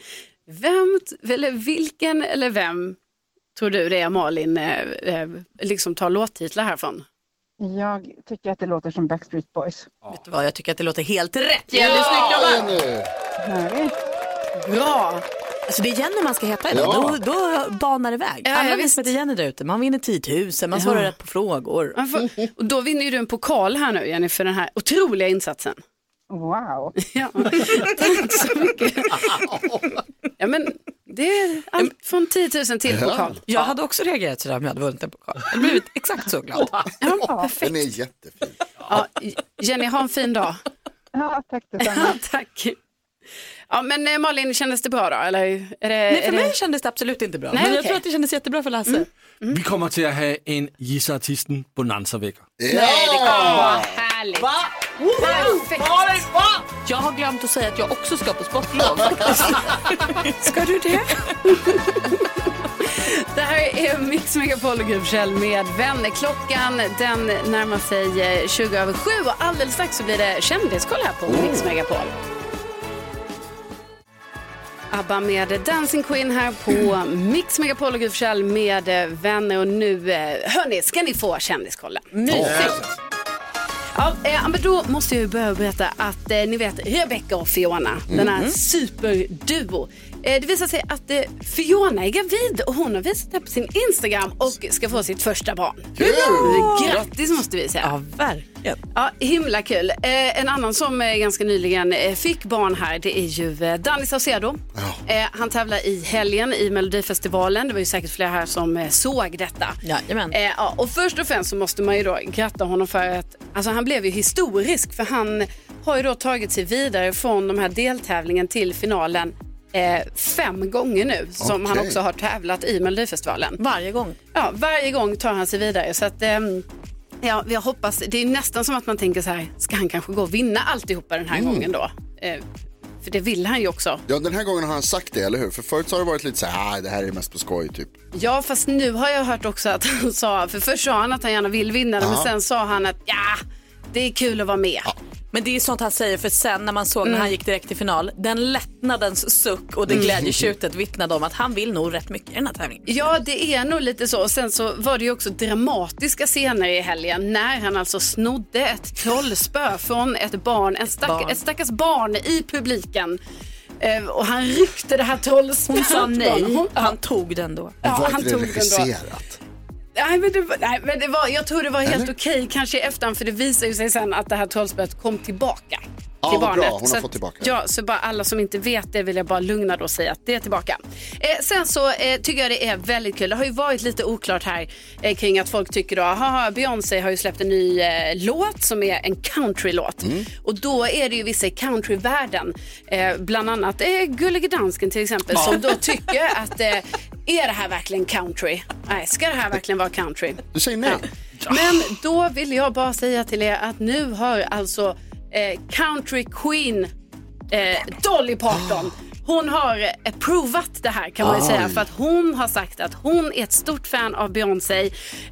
[SPEAKER 2] Vem, t- eller vilken eller vem tror du det är Malin eh, eh, liksom tar låttitlar härifrån?
[SPEAKER 11] Jag tycker att det låter som Backstreet Boys.
[SPEAKER 6] Vet du vad, jag tycker att det låter helt rätt.
[SPEAKER 11] Ja,
[SPEAKER 6] Jenny, snyggt jobbat!
[SPEAKER 11] Härligt.
[SPEAKER 2] Bra!
[SPEAKER 6] Alltså det är Jenny man ska heta idag,
[SPEAKER 11] Ja.
[SPEAKER 6] då, då banar det väg.
[SPEAKER 2] Ja,
[SPEAKER 6] Alla
[SPEAKER 2] ja,
[SPEAKER 6] vi
[SPEAKER 2] visst.
[SPEAKER 6] som heter Jenny där ute, man vinner 10 000, man svarar
[SPEAKER 2] Ja.
[SPEAKER 6] rätt på frågor.
[SPEAKER 2] Man får- Och då vinner ju du en pokal här nu Jenny för den här otroliga insatsen.
[SPEAKER 11] Wow.
[SPEAKER 2] *laughs* Ja. Tack så mycket. Ja, men det är allt från 10 000 till pokal.
[SPEAKER 6] Jag hade också reagerat sådär om jag hade vunnit en pokal. Jag hade blivit exakt så glad.
[SPEAKER 3] Den är jättefin.
[SPEAKER 2] Ja, Jenny, ha en fin dag.
[SPEAKER 11] Ja, tack
[SPEAKER 2] *laughs* detsamma. tack. Ja, men eh, Malin, kändes det bra då? Eller är det,
[SPEAKER 6] Nej, för
[SPEAKER 2] är
[SPEAKER 6] mig
[SPEAKER 2] det...
[SPEAKER 6] kändes det absolut inte bra.
[SPEAKER 2] Nej,
[SPEAKER 6] men jag
[SPEAKER 2] okej.
[SPEAKER 6] tror att det kändes jättebra för
[SPEAKER 2] Mm.
[SPEAKER 6] Lasse.
[SPEAKER 4] Vi kommer till att ha en Gissa Artisten Bonanza-vecka.
[SPEAKER 6] Nej, det kommer vara
[SPEAKER 2] härligt.
[SPEAKER 6] Va? Perfekt. Jag har glömt att säga att jag också ska på sportlov.
[SPEAKER 2] *laughs* Ska du det? det här är Mix Megapol och Gry Forssell med vänner. Klockan den närmar sig eh, 20 över 7 och alldeles strax så blir det kändiskoll här på Mix Megapol. ABBA med Dancing Queen här på Mix Megapol och Gry Forssell med eh, vänner. Och nu, eh, hörni, ska ni få kändiskollen.
[SPEAKER 6] Mysigt.
[SPEAKER 2] Ja, eh, men då måste jag ju börja berätta att eh, ni vet Rebecca och Fiona, den här
[SPEAKER 6] Mhm.
[SPEAKER 2] superduo. Eh, det visar sig att eh, Fiona är gravid och hon har visat det på sin Instagram och ska få sitt första barn.
[SPEAKER 6] Kul!
[SPEAKER 2] Grattis måste vi säga.
[SPEAKER 6] Ja, verkligen.
[SPEAKER 2] Ja, himla kul. Eh, en annan som eh, ganska nyligen eh, fick barn här, det är ju eh, Danny Saucedo. Eh, han tävlar i helgen i Melodifestivalen. Det var ju säkert flera här som eh, såg detta.
[SPEAKER 6] Jajamän.
[SPEAKER 2] Eh, ja, och först och främst så måste man ju då gratta honom för att alltså han blev ju historisk för han har ju då tagit sig vidare från de här deltävlingen till finalen eh, fem gånger nu som
[SPEAKER 6] Okej.
[SPEAKER 2] han också har tävlat i Melodifestivalen.
[SPEAKER 6] Varje gång?
[SPEAKER 2] Ja, varje gång tar han sig vidare. Så att, ehm, ja, jag hoppas, det är nästan som att man tänker så här, ska han kanske gå och vinna alltihopa den här
[SPEAKER 3] Mm.
[SPEAKER 2] gången då? Eh, för det vill han ju också.
[SPEAKER 3] Ja, den här gången har han sagt det, eller hur? För förut så har det varit lite så här, ah, det här är mest på skoj, typ.
[SPEAKER 2] Ja, fast nu har jag hört också att han sa, för först sa han att han gärna vill vinna det, men
[SPEAKER 3] Ja.
[SPEAKER 2] sen sa han att ja, det är kul att vara med.
[SPEAKER 6] Men det är sånt han säger för sen när man såg när
[SPEAKER 2] Mm.
[SPEAKER 6] han gick direkt till final, den lättnadens suck och det
[SPEAKER 2] Mm.
[SPEAKER 6] glädjetjutet vittnade om att han vill nog rätt mycket i den här tävlingen.
[SPEAKER 2] Ja, det är nog lite så. Och sen så var det ju också dramatiska scener i helgen när han alltså snodde ett trollspö från ett barn, en stack,
[SPEAKER 6] barn.
[SPEAKER 2] ett stackars barn i publiken. Eh, och han ryckte det här trollspöet.
[SPEAKER 6] Hon sa nej,
[SPEAKER 2] Hon-
[SPEAKER 6] han tog den då.
[SPEAKER 2] Ja, Var inte han det tog den då. regisserat? Nej, men det, var- nej, men det var, jag tror det var helt
[SPEAKER 3] Eller?
[SPEAKER 2] okej kanske i efterhand för det visar ju sig sen att det här trollspöet kom tillbaka.
[SPEAKER 3] Ja,
[SPEAKER 2] till
[SPEAKER 3] vad
[SPEAKER 2] barnet.
[SPEAKER 3] bra. Hon har
[SPEAKER 2] så
[SPEAKER 3] fått
[SPEAKER 2] att-
[SPEAKER 3] tillbaka det.
[SPEAKER 2] Ja, så bara alla som inte vet det vill jag bara lugna då och säga att det är tillbaka. Eh, sen så eh, tycker jag det är väldigt kul. Det har ju varit lite oklart här eh, kring att folk tycker då, haha, Beyoncé har ju släppt en ny eh, låt som är en countrylåt.
[SPEAKER 3] Mm.
[SPEAKER 2] Och då är det ju vissa i countryvärlden, eh, bland annat eh, Gullige Dansken till exempel,
[SPEAKER 6] Ja.
[SPEAKER 2] som då tycker att eh, är det här verkligen country? Nej, ska det här verkligen vara country?
[SPEAKER 3] Du säger nej.
[SPEAKER 2] Men då vill jag bara säga till er att nu har alltså eh, country queen eh, Dolly Parton hon har eh, provat det här kan man ju
[SPEAKER 6] Oj.
[SPEAKER 2] säga för att hon har sagt att hon är ett stort fan av Beyoncé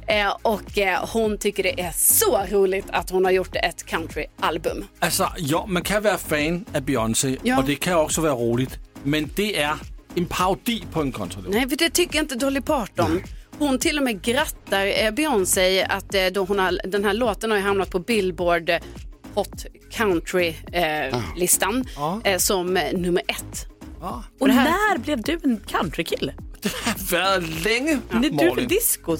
[SPEAKER 2] eh, och eh, hon tycker det är så roligt att hon har gjort ett countryalbum.
[SPEAKER 4] Altså, jo, man kan være fan af Beyoncé,
[SPEAKER 2] Ja.
[SPEAKER 4] og det kan også være roligt, men det är en parodi på en kontrollör.
[SPEAKER 2] Nej, för det tycker inte Dolly Parton. Hon till och med grattar eh, Beyoncé att eh, då hon har, den här låten har ju hamnat på Billboard eh, Hot
[SPEAKER 3] Ah.
[SPEAKER 2] Country-listan eh, som eh, nummer ett.
[SPEAKER 6] Och
[SPEAKER 2] det här-
[SPEAKER 6] när blev du en countrykille?
[SPEAKER 4] Været længe,
[SPEAKER 6] Ja. Det er dyrt med disco.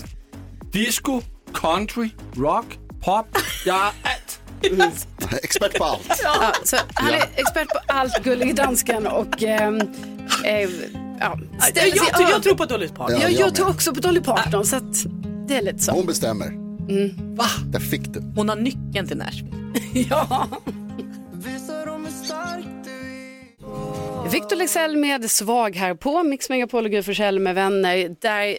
[SPEAKER 4] Disco, country, rock, pop. Jeg er alt.
[SPEAKER 3] *laughs* Expert på alt.
[SPEAKER 2] Ja, så han är expert på allt, gullig dansken och ehm, eh, eh, ja,
[SPEAKER 6] Jag,
[SPEAKER 2] ställer sig
[SPEAKER 6] jag, jag
[SPEAKER 2] över.
[SPEAKER 6] tror på Dolly Parton.
[SPEAKER 2] Ja, jag,
[SPEAKER 3] jag med.
[SPEAKER 2] tror också på Dolly Parton så att det är lite så.
[SPEAKER 3] Hon bestämmer.
[SPEAKER 2] Mm.
[SPEAKER 6] Va?
[SPEAKER 3] Där fick du.
[SPEAKER 6] Hon har nyckeln till Nashville.
[SPEAKER 2] ja. Victor Lexell med Svag här på Mix Megapol och Gry Forssell med vänner. Där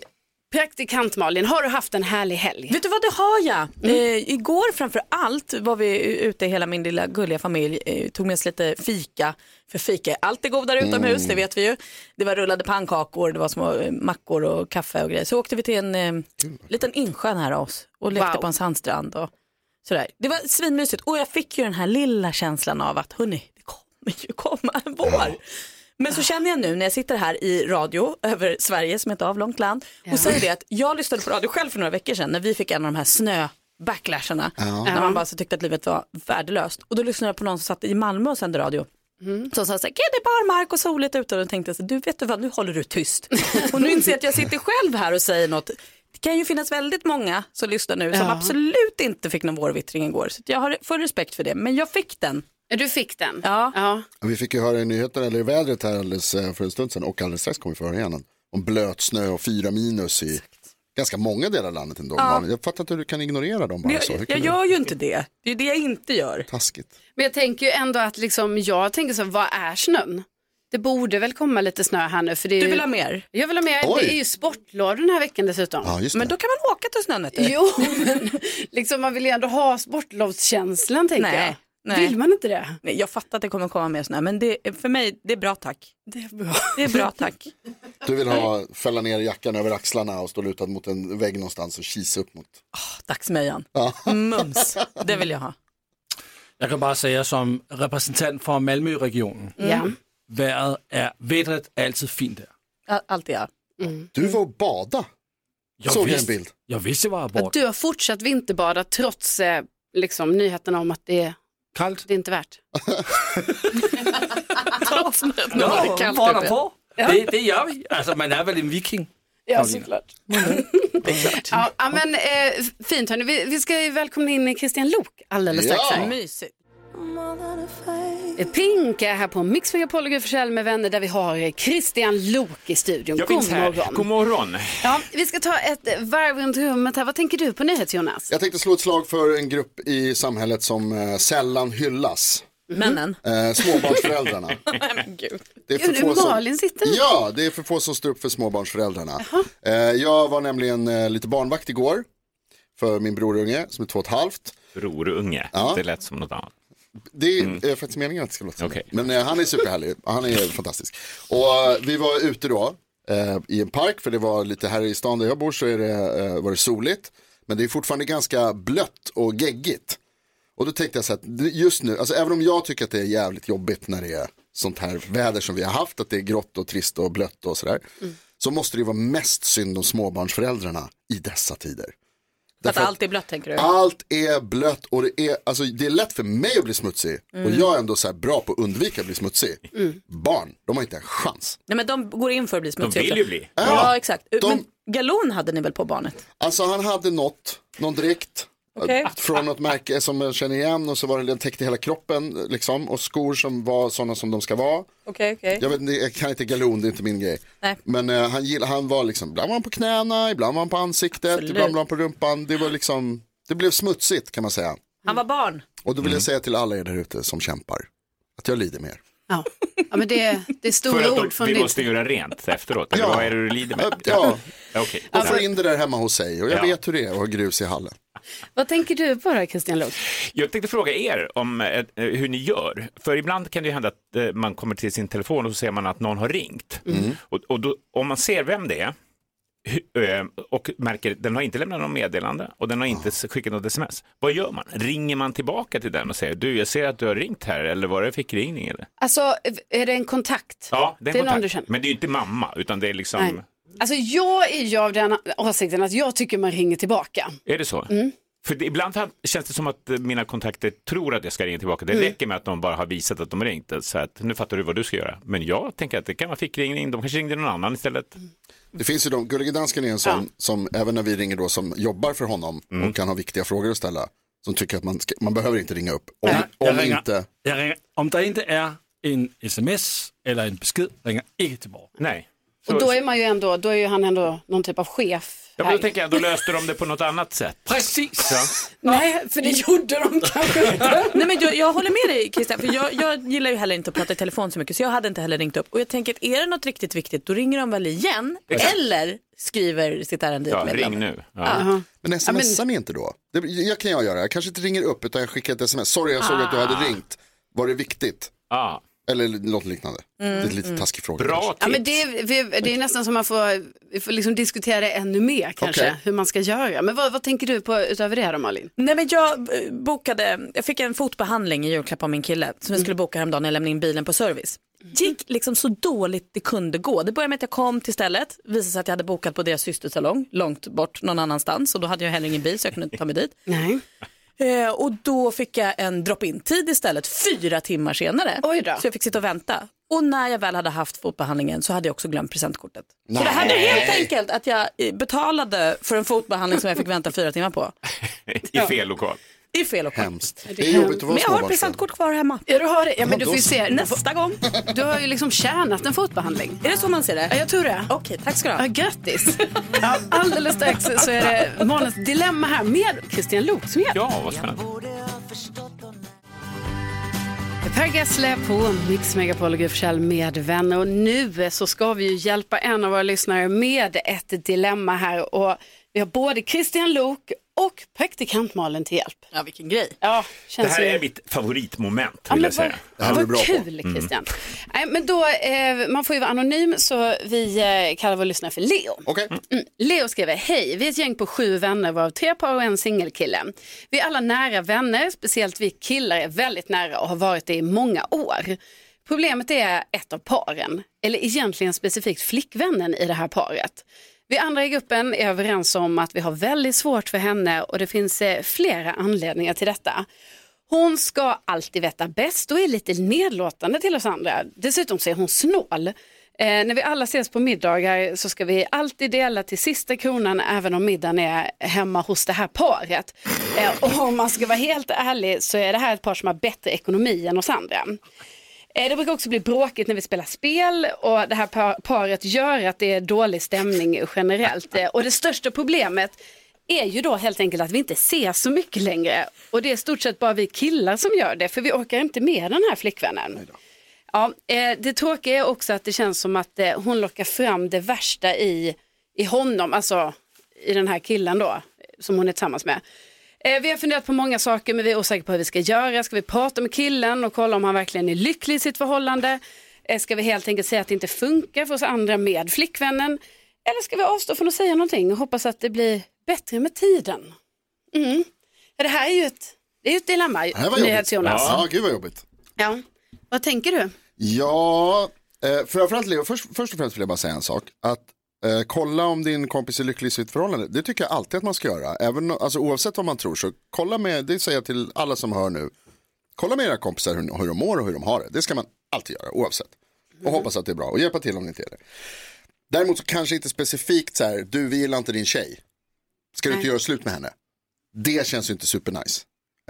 [SPEAKER 2] praktikant Malin, har du haft en härlig helg?
[SPEAKER 6] Vet du vad, det har jag.
[SPEAKER 12] Mm.
[SPEAKER 6] Eh, igår framför allt var vi ute, hela min lilla gulliga familj, eh, tog med oss lite fika. För fika är alltid godare utomhus,
[SPEAKER 12] Mm.
[SPEAKER 6] det vet vi ju. Det var rullade pannkakor, det var små eh, mackor och kaffe och grejer. Så åkte vi till en eh, liten insjö nära oss och lekte
[SPEAKER 12] Wow.
[SPEAKER 6] på en sandstrand. Och sådär. Det var svinmysigt och jag fick ju den här lilla känslan av att, hörni, det kommer ju komma en vår. Men så känner jag nu när jag sitter här i radio över Sverige som är ett avlångt land och säger det att jag lyssnade på radio själv för några veckor sedan när vi fick en av de här snö backlasharna
[SPEAKER 12] Ja.
[SPEAKER 6] när man bara så tyckte att livet var värdelöst. Och då lyssnade jag på någon som satt i Malmö och sände radio.
[SPEAKER 2] Mm.
[SPEAKER 6] Som sa så här, "Gud, det är bara mark och soligt ute och då tänkte jag så här, du vet du vad, nu håller
[SPEAKER 2] *laughs*
[SPEAKER 6] du tyst. och nu inser jag att jag sitter själv här och säger något. Det kan ju finnas väldigt många som lyssnar nu som
[SPEAKER 2] Ja.
[SPEAKER 6] absolut inte fick någon vårvittring igår. Så jag har full respekt för det, men jag fick den.
[SPEAKER 2] Du fick den?
[SPEAKER 6] Ja.
[SPEAKER 2] ja.
[SPEAKER 3] Vi fick ju höra i nyheterna, eller i vädret här alldeles eh, för en stund sedan och alldeles strax kommer vi få höra igen om- om blöt snö och fyra minus i ganska många delar av landet ändå.
[SPEAKER 6] Ja.
[SPEAKER 3] Malin. Jag fattar inte hur du kan ignorera dem
[SPEAKER 6] Men
[SPEAKER 3] bara så. Hur
[SPEAKER 6] jag,
[SPEAKER 3] kan
[SPEAKER 6] jag
[SPEAKER 3] du-
[SPEAKER 6] gör ju inte det. Det är det jag inte gör.
[SPEAKER 3] Taskigt.
[SPEAKER 2] Men jag tänker ju ändå att liksom, jag tänker så, vad är snön? Det borde väl komma lite snö här nu. För det är
[SPEAKER 6] Du
[SPEAKER 2] ju-
[SPEAKER 6] vill ha mer?
[SPEAKER 2] Jag vill ha mer.
[SPEAKER 6] Oj.
[SPEAKER 2] Det är ju sportlov den här veckan dessutom.
[SPEAKER 6] Ja, just det. Men då kan man åka till snön vet du.
[SPEAKER 2] Jo, *laughs* men liksom, man vill ju ändå ha sportlovskänslan tänker
[SPEAKER 6] Nej,
[SPEAKER 2] jag.
[SPEAKER 6] nej.
[SPEAKER 2] Vill man inte det?
[SPEAKER 6] Nej, jag fattar att det kommer komma mer snö, men det, för mig, det är bra tack.
[SPEAKER 2] Det är bra.
[SPEAKER 6] Det är
[SPEAKER 2] *laughs*
[SPEAKER 6] bra tack.
[SPEAKER 3] Du vill ha, fälla ner jackan över axlarna och stå lutad mot en vägg någonstans och kisa upp mot.
[SPEAKER 6] Dagsmöjan.
[SPEAKER 3] Ja.
[SPEAKER 6] Mums, det vill jag ha.
[SPEAKER 4] Jag kan bara säga som representant för Malmöregionen.
[SPEAKER 6] Ja.
[SPEAKER 4] Vädret är, vädret är alltid fint där.
[SPEAKER 6] Al- Allt jag.
[SPEAKER 2] Mm.
[SPEAKER 3] Du var och bada.
[SPEAKER 4] Jag
[SPEAKER 3] Såg jag
[SPEAKER 4] visste-
[SPEAKER 3] en bild.
[SPEAKER 4] Jag visste var jag
[SPEAKER 2] Att
[SPEAKER 4] bort.
[SPEAKER 2] du har fortsatt vinterbada trots eh, liksom, nyheterna om att det är
[SPEAKER 4] kallt.
[SPEAKER 2] Det är inte värt. *laughs* trots nyheterna
[SPEAKER 4] Ja,
[SPEAKER 2] om att det är kallt
[SPEAKER 4] bara
[SPEAKER 2] ute.
[SPEAKER 4] på.
[SPEAKER 2] Ja.
[SPEAKER 4] Det, det gör vi. Alltså man är väl en viking.
[SPEAKER 2] Ja, såklart. Ja, ja, men eh, fint hörni. Vi, vi ska ju välkomna in Christian Lok alldeles strax.
[SPEAKER 6] Ja.
[SPEAKER 2] här. Eh,
[SPEAKER 6] Mysigt.
[SPEAKER 2] Pink är här på Mix Megapol och Gry Forssell med vänner där vi har eh, Christian Lok i studion.
[SPEAKER 13] Jag finns här. God morgon.
[SPEAKER 2] Ja, vi ska ta ett eh, varv runt rummet här. Vad tänker du på nyhet Jonas?
[SPEAKER 3] Jag tänkte slå ett slag för en grupp i samhället som eh, sällan hyllas.
[SPEAKER 2] Mm.
[SPEAKER 6] Männen.
[SPEAKER 3] Eh, småbarnsföräldrarna. Det är för
[SPEAKER 2] Gud,
[SPEAKER 3] få som-
[SPEAKER 2] Malin sitter där.
[SPEAKER 3] Ja, det är för få som står upp för småbarnsföräldrarna. Eh, jag var nämligen eh, lite barnvakt igår för min brorunge som är två och ett halvt.
[SPEAKER 13] Brorunge,
[SPEAKER 3] Ja.
[SPEAKER 13] det lät som något annat. Mm.
[SPEAKER 3] Det är eh, faktiskt meningen att det ska låta okay. Men eh, han är superhärlig, han är fantastisk. Och eh, vi var ute då eh, i en park, för det var lite här i stan där jag bor så är det, eh, var det soligt. Men det är fortfarande ganska blött och geggigt. Och då tänkte jag så här, att just nu, alltså även om jag tycker att det är jävligt jobbigt när det är sånt här väder som vi har haft, att det är grått och trist och blött och sådär. Så måste det ju vara mest synd om småbarnsföräldrarna i dessa tider.
[SPEAKER 6] För att
[SPEAKER 3] Därför att-
[SPEAKER 6] allt är blött tänker du?
[SPEAKER 3] allt är blött och det är, alltså, det är lätt för mig att bli smutsig och
[SPEAKER 6] Mm.
[SPEAKER 3] jag är ändå så här bra på att undvika att bli smutsig. Barn, de har inte en chans.
[SPEAKER 6] Nej, men de går in för att bli smutsiga.
[SPEAKER 3] vill ju bli.
[SPEAKER 6] Ja,
[SPEAKER 3] Ja.
[SPEAKER 6] exakt. Men galon hade ni väl på barnet?
[SPEAKER 3] Alltså han hade något, någon dräkt
[SPEAKER 6] Okej.
[SPEAKER 3] eh, från något märke som jag känner igen och så var det, den täckte hela kroppen eh, liksom och skor som var sådana som de ska vara.
[SPEAKER 6] Okej, okej.
[SPEAKER 3] Jag, vet, inte, jag kan inte galon, det är inte min grej.
[SPEAKER 6] Nej.
[SPEAKER 3] Men eh, han, gill, han var liksom, ibland var han på knäna, ibland var han på ansiktet,
[SPEAKER 6] Absolut.
[SPEAKER 3] ibland var han på rumpan. Det var liksom, det blev smutsigt kan man säga.
[SPEAKER 6] Han var barn.
[SPEAKER 3] Och då vill
[SPEAKER 13] Mm.
[SPEAKER 3] jag säga till alla er där ute som kämpar, att jag lider med er.
[SPEAKER 2] Ja, ja men det, det
[SPEAKER 13] För
[SPEAKER 2] är stora ord
[SPEAKER 13] att de,
[SPEAKER 2] från
[SPEAKER 13] vi
[SPEAKER 2] din-
[SPEAKER 13] måste göra rent efteråt, eller
[SPEAKER 3] Ja.
[SPEAKER 13] vad är det du lider med?
[SPEAKER 3] Ja.
[SPEAKER 13] Okej.
[SPEAKER 3] Och få Alltså, in det där hemma hos sig och jag
[SPEAKER 13] Ja.
[SPEAKER 3] vet hur det är att ha grus i hallen.
[SPEAKER 2] Vad tänker du på då Christian Lok?
[SPEAKER 13] Jag tänkte fråga er om eh, hur ni gör, för ibland kan det ju hända att eh, man kommer till sin telefon och så ser man att någon har ringt.
[SPEAKER 3] Mm.
[SPEAKER 13] Och, och då, om man ser vem det är hu- eh, och märker den har inte lämnat något meddelande och den har
[SPEAKER 3] Ah.
[SPEAKER 13] inte s- skickat något sms. Vad gör man? Ringer man tillbaka till den och säger du, jag ser att du har ringt här eller var det fickringning eller?
[SPEAKER 2] Alltså, är det en kontakt?
[SPEAKER 13] Ja, det är,
[SPEAKER 2] Det är någon
[SPEAKER 13] kontakt.
[SPEAKER 2] du känner.
[SPEAKER 13] Men det är ju inte mamma, utan det är liksom,
[SPEAKER 2] Nej. Alltså jag är ju av den åsikten att jag tycker man ringer tillbaka.
[SPEAKER 13] är det så? För det, ibland ha- känns det som att eh, mina kontakter tror att jag ska ringa tillbaka. Det
[SPEAKER 2] Mm.
[SPEAKER 13] räcker med att de bara har visat att de har ringt. Så att nu fattar du vad du ska göra. Men jag tänker att det kan vara fickringning. De kanske ringde någon annan istället.
[SPEAKER 3] Det finns ju de, Gullige Dansken är en sån som även när vi ringer då som jobbar för honom
[SPEAKER 13] Mm.
[SPEAKER 3] och kan ha viktiga frågor att ställa. Som tycker att man, ska, man behöver inte ringa upp. Om, om
[SPEAKER 4] jag ringer,
[SPEAKER 3] inte,
[SPEAKER 4] jag ringer. Om det inte är en sms eller en besked, ringer inte tillbaka.
[SPEAKER 13] Nej.
[SPEAKER 2] Och då är man ju ändå, då är ju han ändå någon typ av chef.
[SPEAKER 13] Ja, men då tänker jag, då löste de det på något annat sätt.
[SPEAKER 4] Precis!
[SPEAKER 2] Nej, för det gjorde de kanske inte.
[SPEAKER 6] Nej, men jag, jag håller med dig Christian, för jag, jag gillar ju heller inte att prata i telefon så mycket så jag hade inte heller ringt upp. Och jag tänker att är det något riktigt viktigt då ringer de väl igen
[SPEAKER 3] Exakt.
[SPEAKER 6] eller skriver sitt ärende i ett
[SPEAKER 3] Ja,
[SPEAKER 6] meddelande.
[SPEAKER 3] ring nu.
[SPEAKER 6] Ja. Aha.
[SPEAKER 3] Men
[SPEAKER 6] Ja, men-
[SPEAKER 3] smsar ni inte då? Det jag kan jag göra. Jag kanske inte ringer upp utan jag skickar ett sms. Sorry, jag såg att du
[SPEAKER 2] Ah.
[SPEAKER 3] hade ringt. Var det viktigt? Eller något liknande.
[SPEAKER 2] Mm,
[SPEAKER 3] det är lite
[SPEAKER 2] mm.
[SPEAKER 3] taskig fråga. Ah. Bra
[SPEAKER 2] Ja, men det, är- vi, det är nästan som man får, vi får liksom diskutera det ännu mer kanske,
[SPEAKER 3] Okej.
[SPEAKER 2] hur man ska göra. Men vad, vad tänker du på utöver det här då Malin?
[SPEAKER 6] Nej men jag eh, bokade, jag fick en fotbehandling i julklapp av min kille som
[SPEAKER 2] Mm.
[SPEAKER 6] jag skulle boka häromdagen när jag lämnade in bilen på service. Gick liksom så dåligt det kunde gå. Det började med att jag kom till stället, visade sig att jag hade bokat på deras systersalong långt bort någon annanstans och då hade jag heller ingen bil så jag kunde inte ta mig dit.
[SPEAKER 2] *laughs* Nej.
[SPEAKER 6] Eh, och då fick jag en drop-in-tid istället fyra timmar senare.
[SPEAKER 2] Oj då.
[SPEAKER 6] Så jag fick sitta och vänta. Och när jag väl hade haft fotbehandlingen så hade jag också glömt presentkortet. Så det
[SPEAKER 2] Nej.
[SPEAKER 6] hade helt enkelt att jag eh, betalade för en fotbehandling som jag fick vänta fyra timmar på.
[SPEAKER 13] I fel lokal.
[SPEAKER 6] I fel lokal.
[SPEAKER 3] Hemskt. Det är jobbigt att vara
[SPEAKER 6] Men jag har ett
[SPEAKER 3] småbarnsförälder.
[SPEAKER 6] presentkort kvar hemma.
[SPEAKER 2] Ja, du har det. Ja, men
[SPEAKER 3] Ja, då
[SPEAKER 2] du får ju
[SPEAKER 3] så.
[SPEAKER 2] se.
[SPEAKER 6] Nästa gång.
[SPEAKER 2] Du har ju liksom tjänat en fotbehandling.
[SPEAKER 6] Är det så man ser det?
[SPEAKER 2] Ja, jag tror det.
[SPEAKER 6] Okej, tack ska du ha.
[SPEAKER 2] Ja, grattis. Ja, alldeles strax så är det morgonens dilemma här med Christian Lok som hjälp.
[SPEAKER 13] Ja, vad
[SPEAKER 2] *laughs*
[SPEAKER 13] spännande.
[SPEAKER 2] Per Gessle på Mix Megapol och Gry Forssell med vänner. Och nu så ska vi ju hjälpa en av våra lyssnare med ett dilemma här. Och vi har både Christian Lok och praktikant Malin till hjälp.
[SPEAKER 6] Ja, vilken grej.
[SPEAKER 2] Ja,
[SPEAKER 13] Det
[SPEAKER 2] känns
[SPEAKER 13] här
[SPEAKER 2] ju-
[SPEAKER 13] är mitt favoritmoment,
[SPEAKER 2] Ja,
[SPEAKER 13] vill
[SPEAKER 2] men
[SPEAKER 13] jag säga.
[SPEAKER 2] vad vad kul
[SPEAKER 13] Mm.
[SPEAKER 2] Christian. Nej, men då, eh, man får ju vara anonym så vi eh, kallar vår lyssnare för Leo. Mm. Leo skriver, hej, vi är ett gäng på sju vänner varav tre par och en singelkille. Vi är alla nära vänner, speciellt vi killar är väldigt nära och har varit det i många år. Problemet är ett av paren, eller egentligen specifikt flickvännen i det här paret. Vi andra i gruppen är överens om att vi har väldigt svårt för henne och det finns eh, flera anledningar till detta. Hon ska alltid veta bäst och är lite nedlåtande till oss andra. Dessutom så är hon snål. Eh, när vi alla ses på middagar så ska vi alltid dela till sista kronan även om middagen är hemma hos det här paret. Eh, och om man ska vara helt ärlig så är det här ett par som har bättre ekonomi än oss andra. Eh, Det brukar också bli bråkigt när vi spelar spel och det här par- paret gör att det är dålig stämning generellt. Eh, Och det största problemet är ju då helt enkelt att vi inte ses så mycket längre. Och det är i stort sett bara vi killar som gör det för vi orkar inte med den här flickvännen. Ja, eh, det tråkiga är också att det känns som att eh, hon lockar fram det värsta i, i honom, alltså i den här killen då, eh, som hon är tillsammans med. Eh, Vi har funderat på många saker men vi är osäkra på hur vi ska göra. Ska vi prata med killen och kolla om han verkligen är lycklig i sitt förhållande? Eh, Ska vi helt enkelt säga att det inte funkar för oss andra med flickvännen? Eller ska vi avstå från att säga någonting och hoppas att det blir bättre med tiden? Mm. Ja, Det här är ju ett, det är ju ett dilemma,
[SPEAKER 3] Det här var jobbigt.
[SPEAKER 2] Jonas.
[SPEAKER 3] Ja, gud vad jobbigt.
[SPEAKER 2] Ja. Vad tänker du?
[SPEAKER 3] Ja, eh, framförallt Leo, först, först och främst vill jag bara säga en sak. Att eh, kolla om din kompis är lycklig i sitt förhållande, det tycker jag alltid att man ska göra. Även, alltså, oavsett vad man tror, så kolla med, det säger jag till alla som hör nu, kolla med era kompisar hur, hur de mår och hur de har det. Det ska man alltid göra, oavsett.
[SPEAKER 2] Mm.
[SPEAKER 3] Och hoppas att det är bra och hjälpa till om det inte är det. Däremot så kanske inte specifikt så här, du vi gillar inte din tjej, ska du inte göra slut med henne? Det känns ju inte supernice.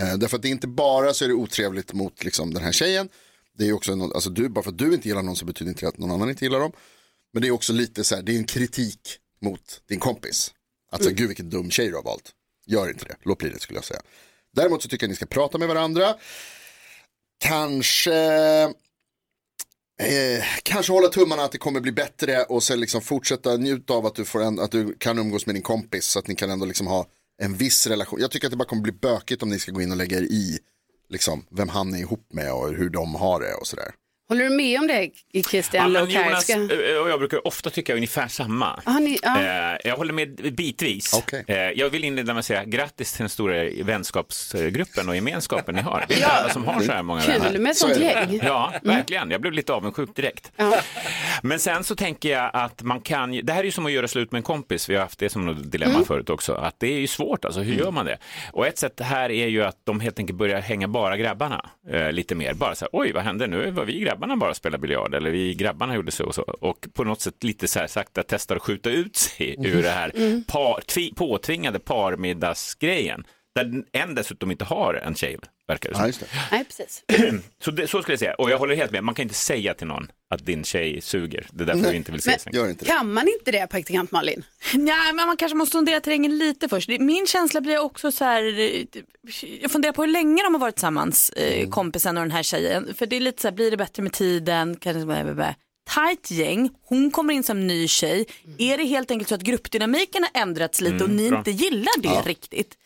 [SPEAKER 3] Eh, därför att det är inte bara så är det otrevligt mot liksom, den här tjejen, det är ju också, någon, alltså du, bara för att du inte gillar någon så betyder inte det att någon annan inte gillar dem. Men det är också lite så här, det är en kritik mot din kompis. Att så här, gud vilken dum tjej du har valt. Gör inte det, låt bli det skulle jag säga. Däremot så tycker jag ni ska prata med varandra. Kanske, eh, kanske hålla tummarna att det kommer bli bättre och sen liksom fortsätta njuta av att du, får en, att du kan umgås med din kompis så att ni kan ändå liksom ha en viss relation. Jag tycker att det bara kommer bli bökigt om ni ska gå in och lägga er i liksom, vem han är ihop med och hur de har det och sådär.
[SPEAKER 2] Håller du med om det Christian?
[SPEAKER 13] Ja,
[SPEAKER 2] Ja,
[SPEAKER 13] men Jonas eh, och jag brukar ofta tycka ungefär samma.
[SPEAKER 2] Ja, ni- ja.
[SPEAKER 13] Eh, Jag håller med bitvis. Eh, Jag vill inleda med att säga grattis till den stora vänskapsgruppen och gemenskapen ni har. Det är inte alla som har så här många
[SPEAKER 2] Kul
[SPEAKER 13] vänner.
[SPEAKER 2] med sånt Mm.
[SPEAKER 13] Så är det.
[SPEAKER 2] gäng.
[SPEAKER 13] Ja, verkligen. Jag blev lite avundsjuk direkt. Men sen så tänker jag att man kan, ju- det här är ju som att göra slut med en kompis, vi har haft det som något dilemma
[SPEAKER 12] Mm.
[SPEAKER 13] förut också, att det är ju svårt alltså, hur gör man det? Och ett sätt här är ju att de helt enkelt börjar hänga bara grabbarna eh, lite mer, bara så här, oj vad hände nu, var vi grabbarna bara och spelade biljard eller vi grabbarna gjorde så och så och på något sätt lite så här sakta testar att skjuta ut sig ur det här
[SPEAKER 12] Mm.
[SPEAKER 13] par, tvi, påtvingade parmiddagsgrejen, där en dessutom inte har en tjej, verkar det som.
[SPEAKER 2] Nej, precis.
[SPEAKER 13] *clears throat* Så, det, så skulle jag säga, och jag håller helt med, man kan inte säga till någon att din tjej suger. Det är därför vi inte vill ses
[SPEAKER 2] Mm. Men
[SPEAKER 13] längre.
[SPEAKER 2] Kan man inte det, praktikant Malin?
[SPEAKER 6] Nej, men man kanske måste sondera terrängen lite först. Min känsla blir också så här, eh, jag funderar på hur länge de har varit tillsammans, eh, kompisen och den här tjejen. För det är lite så här, blir det bättre med tiden? Kanske, bä, bä, bä. Tajt gäng, hon kommer in som ny tjej. Är det helt enkelt så att gruppdynamiken har ändrats lite och
[SPEAKER 12] Mm,
[SPEAKER 6] ni
[SPEAKER 12] bra.
[SPEAKER 6] inte gillar det
[SPEAKER 12] Ja.
[SPEAKER 6] riktigt?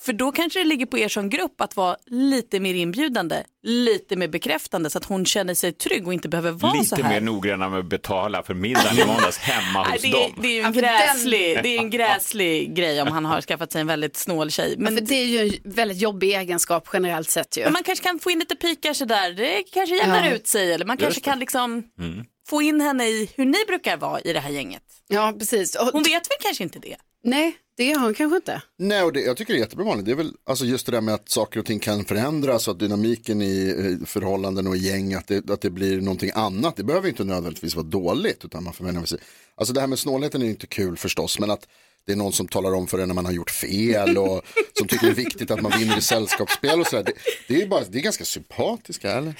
[SPEAKER 6] För då kanske det ligger på er som grupp att vara lite mer inbjudande, lite mer bekräftande så att hon känner sig trygg och inte behöver vara så
[SPEAKER 13] Lite
[SPEAKER 6] här.
[SPEAKER 13] mer noggranna med att betala för middagen i måndags hemma
[SPEAKER 6] *laughs* Nej,
[SPEAKER 13] hos
[SPEAKER 6] det,
[SPEAKER 13] dem.
[SPEAKER 6] är, det är ju
[SPEAKER 2] Ja,
[SPEAKER 6] en
[SPEAKER 2] för Alltså, den-
[SPEAKER 6] gräslig, det är
[SPEAKER 13] *laughs*
[SPEAKER 6] en gräslig grej om han har skaffat sig en väldigt snål tjej. Men
[SPEAKER 2] Men för det är ju en väldigt jobbig egenskap generellt sett ju.
[SPEAKER 6] men man kanske kan få in lite pikar sådär, det kanske jämnar
[SPEAKER 2] Ja.
[SPEAKER 6] ut sig eller man
[SPEAKER 2] Just
[SPEAKER 6] kanske
[SPEAKER 2] det.
[SPEAKER 6] kan liksom
[SPEAKER 13] Mm.
[SPEAKER 6] få in henne i hur ni brukar vara i det här gänget.
[SPEAKER 2] Ja, precis.
[SPEAKER 6] Hon vet väl kanske inte det.
[SPEAKER 2] Nej, det gör hon kanske inte.
[SPEAKER 3] Nej, och det, jag tycker det är jättebra Malin. Det är väl alltså just det där med att saker och ting kan förändras och att dynamiken i eh, förhållanden och i gäng, att det, att det blir någonting annat. Det behöver ju inte nödvändigtvis vara dåligt, utan man förväntar sig. Alltså det här med snålheten är ju inte kul förstås, men att det är någon som talar om för en när man har gjort fel
[SPEAKER 2] *laughs*
[SPEAKER 3] och som tycker det är viktigt att man vinner i sällskapsspel och sådär. Det, det är ju bara, det är ganska sympatiska, eller?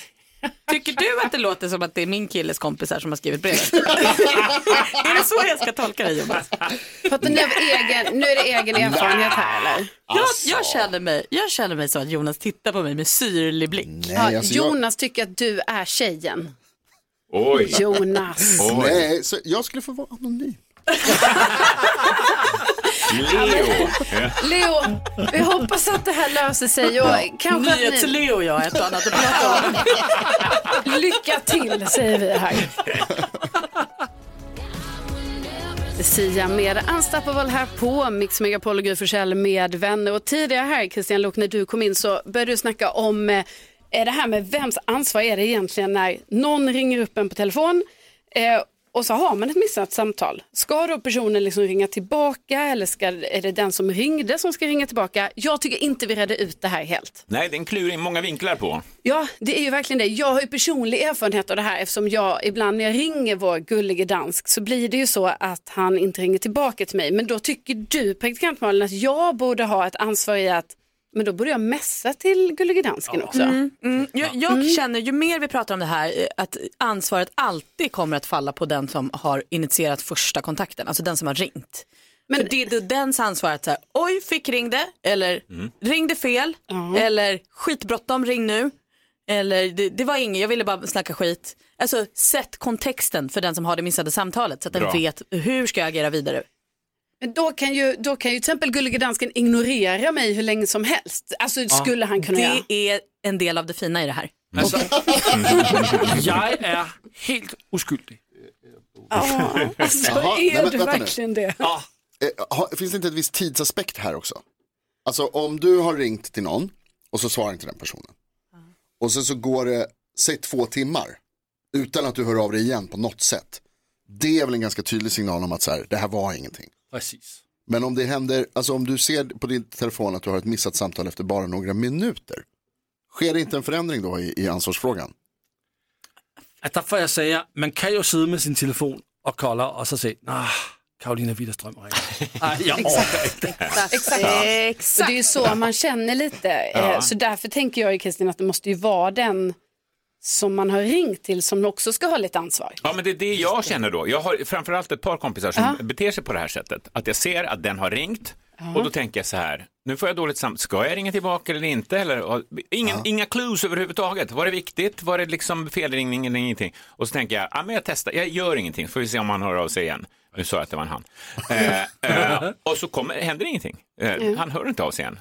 [SPEAKER 6] Tycker du att det låter som att det är min killes kompisar som har skrivit
[SPEAKER 2] *laughs*
[SPEAKER 6] brevet? är det så jag ska tolka dig Jonas?
[SPEAKER 2] Fattar
[SPEAKER 6] *laughs*
[SPEAKER 2] ni av egen, nu är det egen erfarenhet här eller?
[SPEAKER 6] Jag, jag,
[SPEAKER 13] Alltså.
[SPEAKER 6] känner mig, jag känner mig så att Jonas tittar på mig med syrlig blick.
[SPEAKER 2] ja,
[SPEAKER 6] alltså,
[SPEAKER 13] alltså,
[SPEAKER 2] Jonas tycker att du är tjejen.
[SPEAKER 13] Oj.
[SPEAKER 2] Jonas.
[SPEAKER 3] Nej, så jag skulle få vara
[SPEAKER 2] *laughs*
[SPEAKER 3] anonym.
[SPEAKER 13] Leo. Ja.
[SPEAKER 2] Leo, vi hoppas att det här löser sig. Och
[SPEAKER 6] Ja.
[SPEAKER 2] kanske att ni...
[SPEAKER 6] Nyhets-Leo, jag ett och annat att prata om.
[SPEAKER 2] *laughs* Lycka till säger vi här. Sia med Unstoppable här på Mix Megapol och Gry Forssell med vänner. Och tidigare här Christian Lok, när du kom in så började du snacka om eh, är det här med vems ansvar är det egentligen när någon ringer upp en på telefon eh, och så har man ett missat samtal. Ska då personen liksom ringa tillbaka eller ska, är det den som ringde som ska ringa tillbaka? Jag tycker inte vi redde ut det här helt.
[SPEAKER 13] Nej, det är en kluring, många vinklar på.
[SPEAKER 2] Ja, det är ju verkligen det. Jag har ju personlig erfarenhet av det här eftersom jag ibland när jag ringer vår gullige dansk så blir det ju så att han inte ringer tillbaka till mig. Men då tycker du, praktikant Malin, att jag borde ha ett ansvar i att men då borde jag messa till gullige dansken också.
[SPEAKER 6] Mm, mm. Jag, jag känner ju mer vi pratar om det här eh, att ansvaret alltid kommer att falla på den som har initierat första kontakten, alltså den som har ringt. Men det är då dens ansvar att säga oj fick ringde eller ringde fel eller skitbråttom ring nu eller det, det var inget jag ville bara snacka skit. Alltså sätt kontexten för den som har det missade samtalet så att
[SPEAKER 2] Bra.
[SPEAKER 6] den vet hur ska jag agera vidare.
[SPEAKER 2] Men då kan ju, då kan ju till exempel gullige dansken ignorera mig hur länge som helst. Alltså skulle han kunna
[SPEAKER 6] det
[SPEAKER 2] göra.
[SPEAKER 6] är en del av det fina i det här.
[SPEAKER 4] Altså,
[SPEAKER 14] *laughs*
[SPEAKER 4] jeg er helt uskyldig.
[SPEAKER 2] *laughs* alltså,
[SPEAKER 3] Jaha,
[SPEAKER 2] är
[SPEAKER 3] nej, men
[SPEAKER 2] du
[SPEAKER 3] vänta nu.
[SPEAKER 2] verkligen det?
[SPEAKER 3] Eh, har- Finns det inte ett visst tidsaspekt här också? Alltså om du har ringt till någon och så svarar inte den personen. Och sen så går det, säg två timmar, utan att du hör av dig igen på något sätt. Det är väl en ganska tydlig signal om att så här, det här var ingenting.
[SPEAKER 4] Præcis.
[SPEAKER 3] Men om det händer, alltså om du ser på din telefon att du har ett missat samtal efter bara några minuter. Sker det inte en förändring då i, i ansvarsfrågan?
[SPEAKER 4] At derfor jeg sagde, man kan jo sidde med sin telefon og kolde og så se, nah, Karolina
[SPEAKER 2] *laughs*
[SPEAKER 4] Widerstrøm ringer. Ej, jeg orker ikke det her.
[SPEAKER 2] Exakt.
[SPEAKER 4] Ja.
[SPEAKER 2] Och det är ju så man känner lite.
[SPEAKER 4] Ja.
[SPEAKER 2] Eh, Så därför tänker jag ju Kristin att det måste ju vara den som man har ringt till som också ska ha lite ansvar.
[SPEAKER 13] Ja, men det är det jag känner då. Jag har framförallt ett par kompisar som beter sig på det här sättet. Att jag ser att den har ringt och då tänker jag så här, nu får jag dåligt samvete, ska jag ringa tillbaka eller inte? Eller, och ingen, Inga clues överhuvudtaget, var det viktigt, var det liksom felringning eller ingenting? Och så tänker jag, ja, men jag testar, jag gör ingenting, får vi se om han hör av sig igen. Nu sa jag att det var en han. eh, eh, och så kommer, händer ingenting, eh,
[SPEAKER 4] Mm.
[SPEAKER 13] han hör inte av sig igen.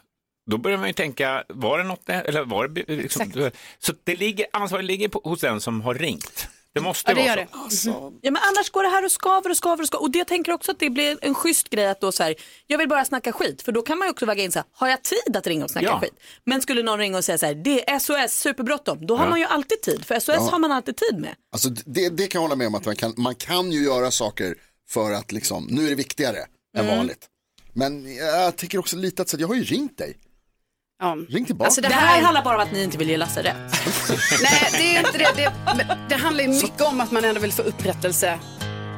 [SPEAKER 13] Då börjar man ju tänka, var det något, där? eller var det, liksom, så det ligger, ansvaret ligger på, hos den som har ringt. Det Mm. måste vara så. Alltså.
[SPEAKER 6] Ja, men annars går det här och skaver och skaver och skaver. Och det jag tänker också att det blir en schysst grej att då så här, jag vill bara snacka skit. För då kan man ju också väga in så här, har jag tid att ringa och snacka
[SPEAKER 13] Ja.
[SPEAKER 6] skit? Men skulle någon ringa och säga så här, det är SOS, superbråttom. Då har
[SPEAKER 3] Ja.
[SPEAKER 6] man ju alltid tid, för SOS
[SPEAKER 3] Ja.
[SPEAKER 6] har man alltid tid med.
[SPEAKER 3] Alltså det, det kan jag hålla med om att man kan, man kan ju göra saker för att liksom, nu är det viktigare
[SPEAKER 2] Mm.
[SPEAKER 3] än vanligt. Men jag tycker också lite att, så att jag har ju ringt dig. Ring tillbaka.
[SPEAKER 2] Alltså,
[SPEAKER 6] det, här... handlar bara om att ni inte vill ge Lasse rätt.
[SPEAKER 2] Nej, det är inte det. Det, men det handlar ju mycket om att man ändå vill få upprättelse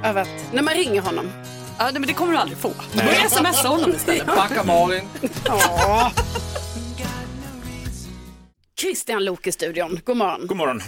[SPEAKER 2] över att när man ringer honom.
[SPEAKER 6] Ja, nej, men det kommer du aldrig få. Du börjar smsa honom istället.
[SPEAKER 4] Bakker Malin.
[SPEAKER 2] Ja. Christian Lok i studion, god morgon.
[SPEAKER 13] God morgon.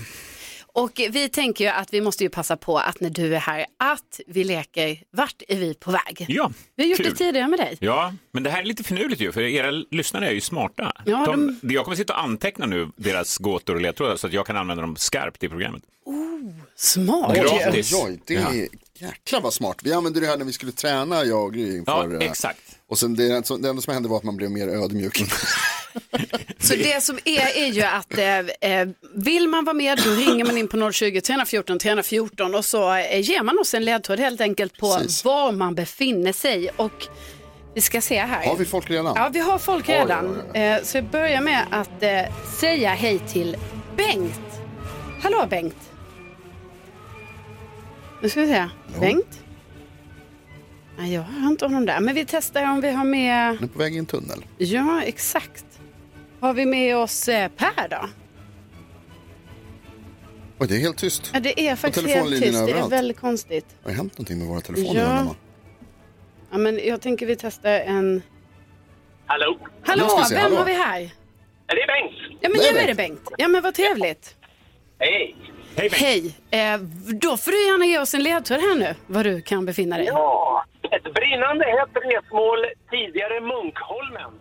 [SPEAKER 2] Och vi tänker ju att vi måste ju passa på att när du är här att vi leker Vart är vi på väg?
[SPEAKER 13] Ja,
[SPEAKER 2] Vi har gjort
[SPEAKER 13] kul.
[SPEAKER 2] det tidigare med dig.
[SPEAKER 13] Ja, men det här är lite finurligt ju, för era lyssnare är ju smarta.
[SPEAKER 2] Ja,
[SPEAKER 13] de... Jag kommer sitta och anteckna nu deras gåtor och ledtrådar så att jag kan använda dem skarpt i programmet.
[SPEAKER 2] Oh, Smart.
[SPEAKER 13] Gratis.
[SPEAKER 3] Oj, det är jäkla vad smart. Vi använde det här när vi skulle träna, jag och Gry. inför,
[SPEAKER 13] Ja,
[SPEAKER 3] eh,
[SPEAKER 13] exakt.
[SPEAKER 3] Och sen det, så- det enda som hände var att man blev mer ödmjuk. *laughs*
[SPEAKER 2] Så det som är är ju att eh, eh, vill man vara med då ringer man in på 020 314 314 och så eh, ger man oss en ledtråd helt enkelt på
[SPEAKER 3] Precis.
[SPEAKER 2] var man befinner sig. Och vi ska se här.
[SPEAKER 3] Har vi folk redan?
[SPEAKER 2] Ja, vi har folk
[SPEAKER 3] Oj, oj, oj.
[SPEAKER 2] redan. Eh, så jag börjar med att eh, säga hej till Bengt. Hallå Bengt. Nu ska vi se. Bengt? Nej, jag har inte honom där. Men vi testar om vi har med...
[SPEAKER 3] Han är på väg i en tunnel.
[SPEAKER 2] Ja, exakt. Har vi med oss eh, Per då?
[SPEAKER 3] Oj, det är helt tyst.
[SPEAKER 2] Ja, det är
[SPEAKER 3] Och
[SPEAKER 2] faktiskt helt
[SPEAKER 3] telefonlinjerna
[SPEAKER 2] tyst. Det är
[SPEAKER 3] överallt.
[SPEAKER 2] väldigt konstigt.
[SPEAKER 3] Har det hänt någonting med våra telefoner?
[SPEAKER 2] Ja.
[SPEAKER 3] undrar man?
[SPEAKER 2] Ja, men jag tänker vi testar en...
[SPEAKER 15] Hallå?
[SPEAKER 2] Hallå,
[SPEAKER 3] Nu ska vi se,
[SPEAKER 2] vem
[SPEAKER 3] hallå.
[SPEAKER 2] har vi här?
[SPEAKER 15] Är det Bengt?
[SPEAKER 2] Ja, men
[SPEAKER 15] Det är
[SPEAKER 2] nu är det Bengt. Ja, men vad trevligt.
[SPEAKER 15] Hej!
[SPEAKER 13] Hej Bengt!
[SPEAKER 2] Hej! Eh, då får du gärna ge oss en ledtråd här nu, var du kan befinna dig.
[SPEAKER 15] Ja, ett brinnande hett resmål, tidigare Munkholmen.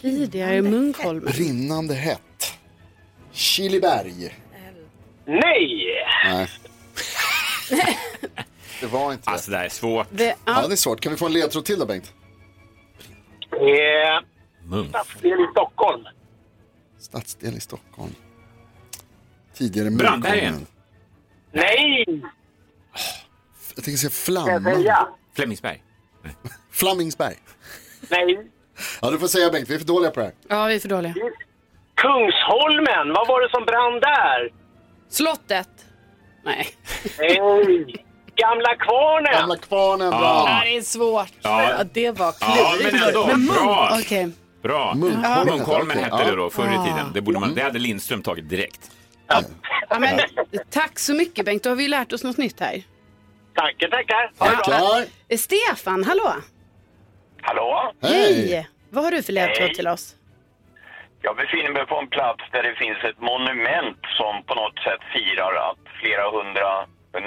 [SPEAKER 2] Tidigare Munkholmen.
[SPEAKER 3] Rinnande hett. Kiliberg.
[SPEAKER 15] Nej!
[SPEAKER 3] Nej. *laughs* det var inte
[SPEAKER 13] Alltså det här är svårt.
[SPEAKER 2] Det,
[SPEAKER 3] Ja, det är svårt. Kan vi få en ledtråd till då, Bengt?
[SPEAKER 15] Eh,
[SPEAKER 13] Munk.
[SPEAKER 15] stadsdel i Stockholm.
[SPEAKER 3] Stadsdel i Stockholm. Tidigare
[SPEAKER 13] Brandbergen.
[SPEAKER 3] Munkholmen.
[SPEAKER 15] Nej!
[SPEAKER 3] Jag tänker säga
[SPEAKER 15] Ska jag
[SPEAKER 3] Flamman.
[SPEAKER 15] säga?
[SPEAKER 13] Flemingsberg.
[SPEAKER 3] *laughs* Flamingsberg.
[SPEAKER 15] Nej.
[SPEAKER 3] Ja, du får säga Bengt. Vi är för dåliga på det här.
[SPEAKER 2] Ja, vi är för dåliga.
[SPEAKER 15] Kungsholmen, vad var det som brann där?
[SPEAKER 2] Slottet. Nej.
[SPEAKER 15] Nej. Gamla kvarnen!
[SPEAKER 3] Gamla kvarnen,
[SPEAKER 13] bra.
[SPEAKER 2] Det här är svårt.
[SPEAKER 13] Ja.
[SPEAKER 2] Ja, det var
[SPEAKER 13] Ja,
[SPEAKER 2] klurigt.
[SPEAKER 13] men ändå.
[SPEAKER 2] Men Munk,
[SPEAKER 13] Bra.
[SPEAKER 2] okej.
[SPEAKER 13] Bra.
[SPEAKER 3] Munkholmen.
[SPEAKER 13] Munkholmen
[SPEAKER 3] Okej,
[SPEAKER 13] hette
[SPEAKER 3] ja.
[SPEAKER 13] det då förr
[SPEAKER 2] Ah.
[SPEAKER 13] i tiden. Det, borde man, det hade Lindström tagit direkt.
[SPEAKER 2] Ja, men, tack så mycket Bengt, då har vi ju lärt oss något nytt här.
[SPEAKER 15] Tackar, tackar!
[SPEAKER 3] Tackar.
[SPEAKER 2] Eh, Stefan, hallå!
[SPEAKER 15] Hallå?
[SPEAKER 2] Hej! Vad har du för ledtråd
[SPEAKER 15] Hej.
[SPEAKER 2] till oss?
[SPEAKER 15] Jag befinner mig på en plats där det finns ett monument som på något sätt firar att flera hundra,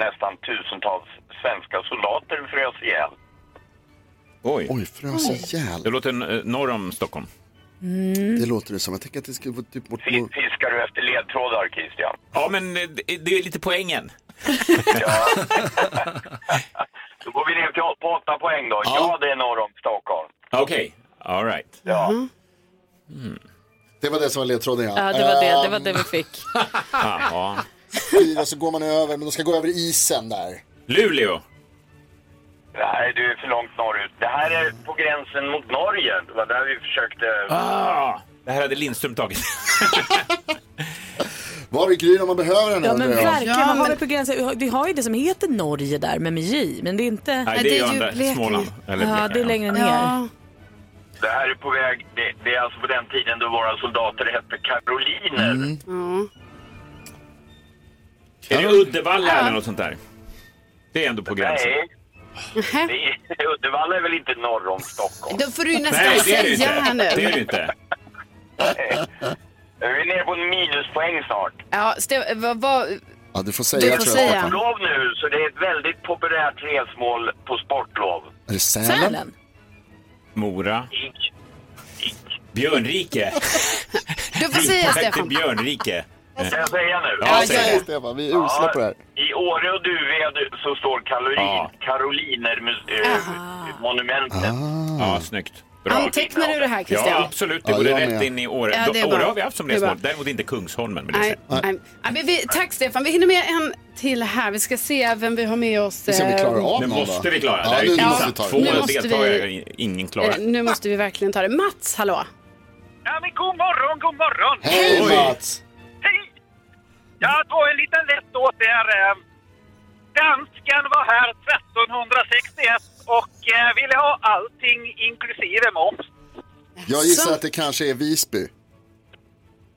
[SPEAKER 15] nästan tusentals svenska soldater frös ihjäl.
[SPEAKER 13] Oj.
[SPEAKER 3] Oj, frös ihjäl.
[SPEAKER 13] Det låter eh, norr om Stockholm.
[SPEAKER 3] Det låter det som. Jag tänker att det skulle vara typ bort
[SPEAKER 15] F-
[SPEAKER 3] mot...
[SPEAKER 15] Fiskar du efter ledtrådar, Christian?
[SPEAKER 13] Ja, men eh, det det är lite poängen.
[SPEAKER 15] Då går vi ner till å- på åtta poäng då. Ja, det är norr om Stockholm.
[SPEAKER 13] Okej, all right. Mm.
[SPEAKER 15] Ja.
[SPEAKER 2] Mhm.
[SPEAKER 3] Det var det som var ledtråden, ja.
[SPEAKER 6] Ja, det var det, det var det vi fick.
[SPEAKER 13] Jaha.
[SPEAKER 3] det. Och Eh, så går man över, men de ska gå över isen där.
[SPEAKER 13] Luleå.
[SPEAKER 15] Nej, du är för långt norrut. Det här är på gränsen mot Norge. Det var där vi försökte...
[SPEAKER 13] Ah, det här hade Lindström tagit.
[SPEAKER 3] *laughs* Var är Gry när man behöver henne?
[SPEAKER 6] Ja men
[SPEAKER 3] undrar jag.
[SPEAKER 6] verkligen,
[SPEAKER 2] Ja,
[SPEAKER 6] vad har
[SPEAKER 2] men-
[SPEAKER 6] vi på gränsen? Vi har ju det som heter Norge där, men med J. Men det är inte...
[SPEAKER 13] Nej,
[SPEAKER 2] det
[SPEAKER 13] det
[SPEAKER 2] är
[SPEAKER 13] är
[SPEAKER 2] ju
[SPEAKER 13] andra,
[SPEAKER 2] Blekinge.
[SPEAKER 13] Småland. Eller
[SPEAKER 6] Ja,
[SPEAKER 13] Blekinge,
[SPEAKER 6] det är längre ner.
[SPEAKER 2] Ja.
[SPEAKER 15] Det här är på väg... Det, det är alltså på den tiden då våra soldater hette karoliner.
[SPEAKER 3] Mm.
[SPEAKER 2] Ja.
[SPEAKER 13] Är det Uddevalla eller något sånt där? Det är ändå på gränsen.
[SPEAKER 15] Nej,
[SPEAKER 2] Nähä.
[SPEAKER 15] det är, Uddevalla är väl inte norr om Stockholm?
[SPEAKER 2] Då får du ju nästan
[SPEAKER 13] Nej, det är det ju
[SPEAKER 2] säga
[SPEAKER 13] inte.
[SPEAKER 2] här nu.
[SPEAKER 13] Det är det ju inte.
[SPEAKER 15] *laughs* Vi är nere på en minuspoäng snart.
[SPEAKER 2] Ja, Ste- vad, vad,
[SPEAKER 3] Ja, du får säga.
[SPEAKER 2] Du får
[SPEAKER 3] tror jag,
[SPEAKER 2] säga.
[SPEAKER 3] Stefan.
[SPEAKER 15] Lov nu, så det är ett väldigt populärt resmål på sportlov.
[SPEAKER 3] Är det Sälen?
[SPEAKER 6] Sälen?
[SPEAKER 13] Mora.
[SPEAKER 15] I-
[SPEAKER 13] Björnrike.
[SPEAKER 2] du får säga Stefan.
[SPEAKER 13] Björnrike.
[SPEAKER 15] Ska jag säga nu?
[SPEAKER 13] Ja, säg
[SPEAKER 3] Säg
[SPEAKER 13] det.
[SPEAKER 3] Stefan, vi är usla på det här.
[SPEAKER 15] I Åre och Duved så står Karolin,
[SPEAKER 13] Ja.
[SPEAKER 15] Karoliner äh, monumentet.
[SPEAKER 13] Eh. Ja, snyggt. Bra.
[SPEAKER 2] Antecknar du det här
[SPEAKER 13] Ja,
[SPEAKER 2] Christian?
[SPEAKER 13] absolut.
[SPEAKER 3] Ah.
[SPEAKER 13] Det
[SPEAKER 3] Ja,
[SPEAKER 13] går
[SPEAKER 3] jag
[SPEAKER 13] rätt
[SPEAKER 3] med.
[SPEAKER 13] in i Åre.
[SPEAKER 2] Ja, det är
[SPEAKER 13] Åre
[SPEAKER 2] bra.
[SPEAKER 13] har vi haft som
[SPEAKER 2] Det är bra.
[SPEAKER 13] resmål. Däremot inte Kungsholmen. Men det är
[SPEAKER 2] Nej,
[SPEAKER 13] säkert.
[SPEAKER 2] nej. Ja, men vi, tack Stefan, vi hinner med en till här. Vi ska se vem vi har med oss. eh,
[SPEAKER 3] Vi ser om vi klarar av
[SPEAKER 13] Nu
[SPEAKER 3] någon,
[SPEAKER 13] måste
[SPEAKER 3] va?
[SPEAKER 13] vi klara det.
[SPEAKER 3] Ja,
[SPEAKER 13] här.
[SPEAKER 3] nu
[SPEAKER 13] Det är
[SPEAKER 3] måste
[SPEAKER 13] pinsamt.
[SPEAKER 3] vi ta
[SPEAKER 13] Två
[SPEAKER 3] det.
[SPEAKER 2] Nu måste vi-
[SPEAKER 13] deltagare, i- ingen klarar.
[SPEAKER 2] Eh, Nu måste vi verkligen ta det. Mats, hallå!
[SPEAKER 15] Ja, men god morgon, god morgon!
[SPEAKER 3] Hej
[SPEAKER 13] Oj.
[SPEAKER 3] Mats!
[SPEAKER 15] Hej! Ja, då en liten lätt åt er. eh. Dansken var här 1361 och eh, ville ha allting inklusive moms.
[SPEAKER 3] Jag gissar
[SPEAKER 2] Så.
[SPEAKER 3] att det kanske är Visby.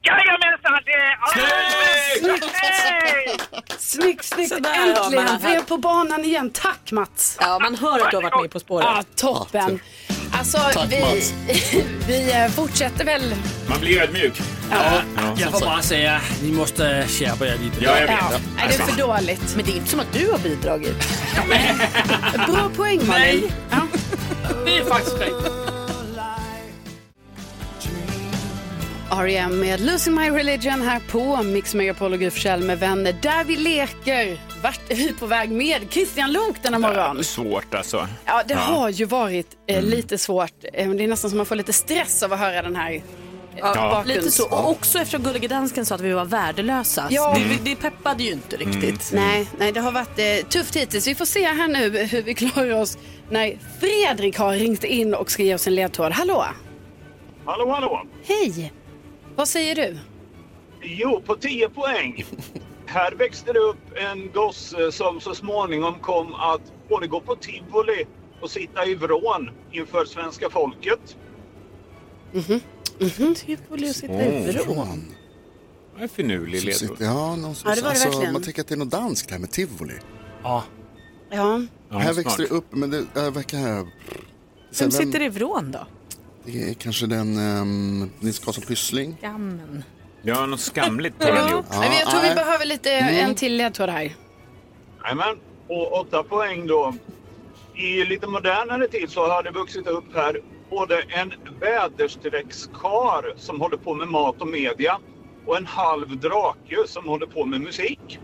[SPEAKER 15] Jajamensan, det är
[SPEAKER 13] Snyggt!
[SPEAKER 15] Hej!
[SPEAKER 2] Snyggt, snyggt!
[SPEAKER 6] Sådär, ja,
[SPEAKER 2] Äntligen!
[SPEAKER 6] men-
[SPEAKER 2] Vi är på banan igen. Tack Mats!
[SPEAKER 6] Ja, man hör att du har varit med På spåret.
[SPEAKER 2] Ja, toppen! Alltså,
[SPEAKER 13] Tack,
[SPEAKER 2] vi,
[SPEAKER 13] Mats.
[SPEAKER 2] *laughs* vi eh, fortsätter väl.
[SPEAKER 13] Man blir ödmjuk.
[SPEAKER 2] Ja,
[SPEAKER 4] jag får bara säga, ni måste skärpa er lite.
[SPEAKER 13] Ja, jag vet.
[SPEAKER 2] Ja. Nej, det är för dåligt. Men det är inte som att du har bidragit.
[SPEAKER 13] *laughs*
[SPEAKER 2] Bra poäng, Malin. Nej.
[SPEAKER 4] Det är faktiskt rätt.
[SPEAKER 2] R.E.M. E med Losing My Religion här på Mix Megapol och Gry Forssell med vänner. Där vi leker. Vart är vi på väg med Christian Lok denna morgon?
[SPEAKER 13] Svårt alltså.
[SPEAKER 2] Ja, det har ju varit eh, lite svårt. Eh, men det är nästan som man får lite stress av att höra den här eh,
[SPEAKER 6] Ja,
[SPEAKER 2] bakgrunds-
[SPEAKER 6] lite så. Och också eftersom Gullige Dansken sa att vi var värdelösa.
[SPEAKER 2] Ja.
[SPEAKER 6] Det, det peppade ju
[SPEAKER 2] Mm.
[SPEAKER 6] inte riktigt.
[SPEAKER 2] Nej, nej, det har varit eh, tufft hittills. Vi får se här nu hur vi klarar oss när Fredrik har ringt in och ska ge oss en ledtråd. Hallå!
[SPEAKER 12] Hallå, hallå!
[SPEAKER 2] Hej! Vad säger du?
[SPEAKER 12] Jo, på 10 poäng. Här växte det upp en gosse som så småningom kom att både gå på tivoli och sitta i vrån inför svenska folket.
[SPEAKER 2] Mhm. Mhm. Tivoli och sitta i vrån.
[SPEAKER 13] Det är finurlig ledtråd.
[SPEAKER 3] Ja, någon som,
[SPEAKER 2] Ja, det var det
[SPEAKER 3] alltså,
[SPEAKER 2] verkligen.
[SPEAKER 3] Man tänker att det är något danskt det här med tivoli.
[SPEAKER 4] Ja.
[SPEAKER 2] Ja.
[SPEAKER 3] här växte det upp, men det äh, verkar... Här...
[SPEAKER 6] Vem sitter i vrån då?
[SPEAKER 3] Det är kanske den ehm, Nils Karlsson Pyssling.
[SPEAKER 6] Gammen.
[SPEAKER 13] Ja, något skamligt
[SPEAKER 2] har han gjort. Nej, men jag tror vi behöver lite
[SPEAKER 12] Mm.
[SPEAKER 2] en till ledtråd här.
[SPEAKER 12] Jajamän, och 8 poäng då. I lite modernare tid så har det vuxit upp här både en väderstreckskar som håller på med mat och media och en halv drake som håller på med musik.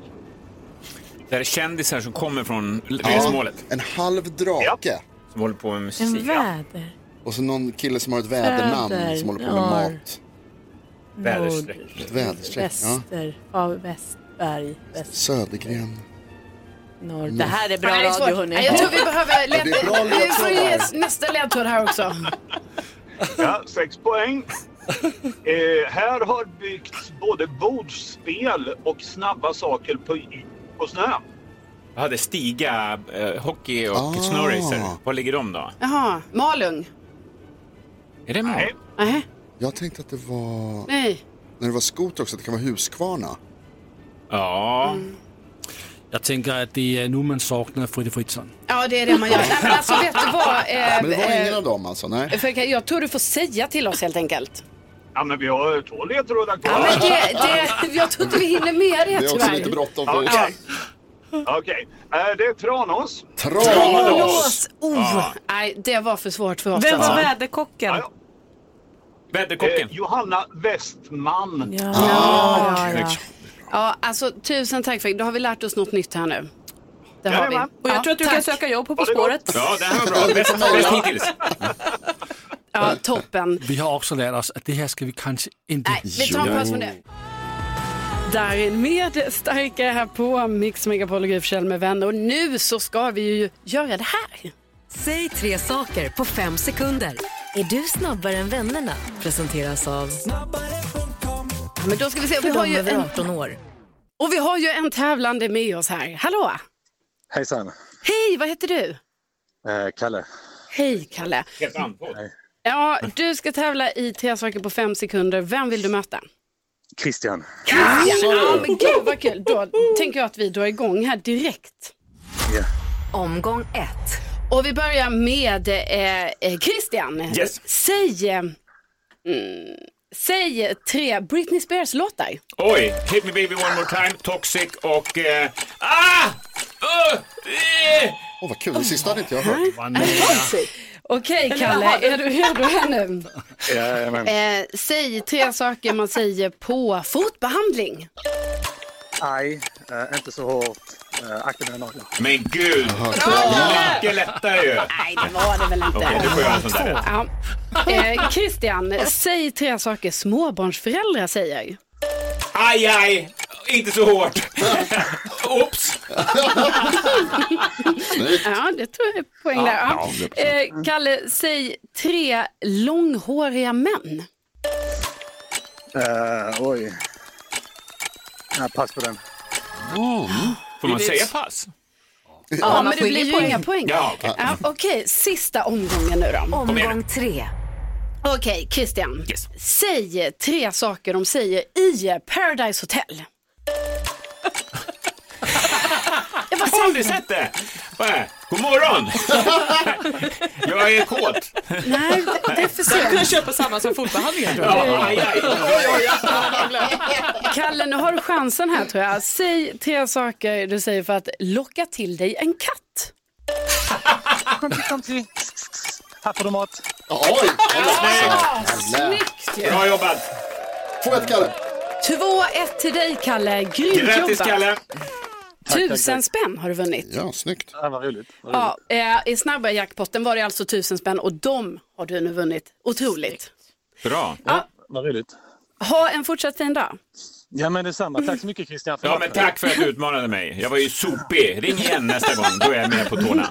[SPEAKER 13] Det här är kändisar som kommer från resmålet.
[SPEAKER 3] En halv drake.
[SPEAKER 13] Som håller på med
[SPEAKER 6] En
[SPEAKER 13] musik.
[SPEAKER 6] väder.
[SPEAKER 3] Och så Alltså någon kille som har ett vädernamn
[SPEAKER 6] Väder,
[SPEAKER 3] som håller på med
[SPEAKER 6] norr,
[SPEAKER 3] mat.
[SPEAKER 6] Väderstreck.
[SPEAKER 3] Ett väderstreck. Ja.
[SPEAKER 6] Väster. Ja, Västberg. Väst,
[SPEAKER 3] Södergren.
[SPEAKER 6] norr.
[SPEAKER 2] Mm.
[SPEAKER 6] Det här är bra
[SPEAKER 2] Nej, det är svårt.
[SPEAKER 6] radio hörni.
[SPEAKER 2] Nej, Jag tror vi behöver
[SPEAKER 3] Ja, det är bra
[SPEAKER 2] leta... Vi får ge
[SPEAKER 3] ledtrådar.
[SPEAKER 2] nästa ledtråd här också.
[SPEAKER 12] Ja, sex poäng. Eh, här har byggts både bordsspel och snabba saker på, på snö.
[SPEAKER 13] Jag hade Stiga, eh, hockey
[SPEAKER 3] Ah.
[SPEAKER 13] och snowracer. Var ligger de då?
[SPEAKER 2] Jaha, Malung.
[SPEAKER 13] Är det med?
[SPEAKER 2] Nej.
[SPEAKER 3] Jag tänkte att det var...
[SPEAKER 2] Nej.
[SPEAKER 3] När det var skoter också, att det kan vara Huskvarna.
[SPEAKER 13] Ja.
[SPEAKER 6] Mm.
[SPEAKER 2] Mm.
[SPEAKER 4] Jag tänker att det är nu man saknar Fritte Fritzson.
[SPEAKER 2] Ja, det är det man gör. Nej, men alltså vet du
[SPEAKER 3] *laughs*
[SPEAKER 2] vad? Eh,
[SPEAKER 3] Men det var ingen
[SPEAKER 2] eh,
[SPEAKER 3] av dem alltså, nej.
[SPEAKER 2] För jag tror du får säga till oss helt enkelt.
[SPEAKER 12] Ja, men vi har två ledtrådar kvar.
[SPEAKER 2] Men det, det, Eh, jag tror inte vi hinner med det tyvärr.
[SPEAKER 12] Okej. Okej. Eh, det är Tranås.
[SPEAKER 2] Tranås! Oh,
[SPEAKER 16] Ah,
[SPEAKER 12] Ja.
[SPEAKER 2] nej, det var för svårt för oss. alltså.
[SPEAKER 12] Vem var
[SPEAKER 6] väderkocken?
[SPEAKER 13] Väderkocken.
[SPEAKER 12] Eh, Johanna Westman.
[SPEAKER 6] Ja.
[SPEAKER 2] Ja, ja. ja, alltså tusen tack för Då har vi lärt oss något nytt här nu. Det har vi.
[SPEAKER 6] Och jag tror att du kan söka jobb på På spåret.
[SPEAKER 13] Ja, det här var bra. Bäst, bäst hittills.
[SPEAKER 2] Ja, toppen.
[SPEAKER 4] Vi har också lärt oss att det här ska vi kanske inte
[SPEAKER 2] Nej, vi tar en paus från det. Darin med starkare här på Mix Megapol och Gry Forssell med vänner. Och nu så ska vi ju göra det här.
[SPEAKER 17] Säg tre saker på fem sekunder. Är du snabbare än vännerna? Presenteras av...
[SPEAKER 2] Men då ska vi se.
[SPEAKER 17] För
[SPEAKER 2] Vi har
[SPEAKER 17] dem
[SPEAKER 2] ju
[SPEAKER 17] över
[SPEAKER 2] en-
[SPEAKER 17] 18 år.
[SPEAKER 2] Och vi har ju en tävlande med oss här. Hallå!
[SPEAKER 16] Hejsan,
[SPEAKER 2] Hej, vad heter du?
[SPEAKER 16] eh, Kalle.
[SPEAKER 2] Hej, Kalle.
[SPEAKER 16] Hej.
[SPEAKER 2] Ja, du ska tävla i tre saker på fem sekunder. Vem vill du möta?
[SPEAKER 16] Christian.
[SPEAKER 2] Ja, men gud vad kul. Då tänker jag att vi drar igång här direkt.
[SPEAKER 16] Ja.
[SPEAKER 2] Omgång ett. Och vi börjar med eh, eh, Christian.
[SPEAKER 13] Yes.
[SPEAKER 2] Säg, eh, mm,
[SPEAKER 13] Mm.
[SPEAKER 2] säg tre Britney Spears-låtar.
[SPEAKER 13] Oj, Hit Me Baby One More Time, Toxic och... Eh, ah! Uh, eh.
[SPEAKER 3] Åh, vad kul. Det sista hade inte jag hört.
[SPEAKER 2] Okej
[SPEAKER 3] Eller
[SPEAKER 2] Kalle,
[SPEAKER 3] vad?
[SPEAKER 2] är du redo här nu?
[SPEAKER 16] Jajamän.
[SPEAKER 2] Eh, säg tre saker man säger på *laughs* fotbehandling.
[SPEAKER 16] Aj, eh, inte så hårt. Eh, akta mina naglar.
[SPEAKER 13] Men gud! Mycket lättare ju.
[SPEAKER 2] Nej, det var
[SPEAKER 6] *laughs*
[SPEAKER 2] det väl inte.
[SPEAKER 13] Okej, du får göra en sån där.
[SPEAKER 2] Ja. Eh, Christian, säg tre saker småbarnsföräldrar säger.
[SPEAKER 13] Aj, aj! Inte så hårt. Oops!
[SPEAKER 2] ja, det tror jag är poäng där. Ja.
[SPEAKER 13] Ja,
[SPEAKER 2] Eh, Kalle, säg tre långhåriga män.
[SPEAKER 16] Eh, oj. Ja, pass på den.
[SPEAKER 13] Får man säga pass?
[SPEAKER 2] Ja,
[SPEAKER 13] man
[SPEAKER 2] men det
[SPEAKER 13] skiljer
[SPEAKER 2] blir ju
[SPEAKER 13] poäng.
[SPEAKER 2] inga poäng.
[SPEAKER 13] Ja, okej.
[SPEAKER 2] Ja, okej, sista omgången nu då.
[SPEAKER 13] Kom igen.
[SPEAKER 2] tre. Okej, Christian. Säg tre saker de säger i Paradise Hotel.
[SPEAKER 13] Har du sett det? Vad är det? God morgon! jag är kåt.
[SPEAKER 2] Nej, det, det är för
[SPEAKER 6] Jag kunde
[SPEAKER 2] sent.
[SPEAKER 6] köpa samma som fotbehandlingar tror
[SPEAKER 13] Ja,
[SPEAKER 6] jag.
[SPEAKER 13] aj, aj. Oj, oj,
[SPEAKER 6] *laughs*
[SPEAKER 2] Kalle, nu har du chansen här tror jag. Säg tre saker du säger för att locka till dig en katt.
[SPEAKER 16] Kom till, kom till. Här får du mat.
[SPEAKER 3] Oj!
[SPEAKER 2] Snyggt! ju.
[SPEAKER 13] Bra jobbat!
[SPEAKER 3] Två ett Kalle.
[SPEAKER 2] 2-1 till dig Kalle, grymt
[SPEAKER 13] Grattis
[SPEAKER 2] jobbat.
[SPEAKER 13] Kalle!
[SPEAKER 2] Tusen spänn har du vunnit.
[SPEAKER 3] Ja, snyggt.
[SPEAKER 16] Ja, vad roligt. Vad roligt.
[SPEAKER 2] Ja, eh, I snabba jackpotten var det alltså tusen spänn och de har du nu vunnit. Otroligt.
[SPEAKER 13] Bra.
[SPEAKER 2] Ja,
[SPEAKER 16] Vad roligt.
[SPEAKER 2] ha en fortsatt fin dag.
[SPEAKER 16] Ja, men detsamma. Tack så mycket Christian.
[SPEAKER 13] Ja, men tack för att du utmanade mig. Jag var ju sopig. Ring igen nästa gång, då är jag med på tårna.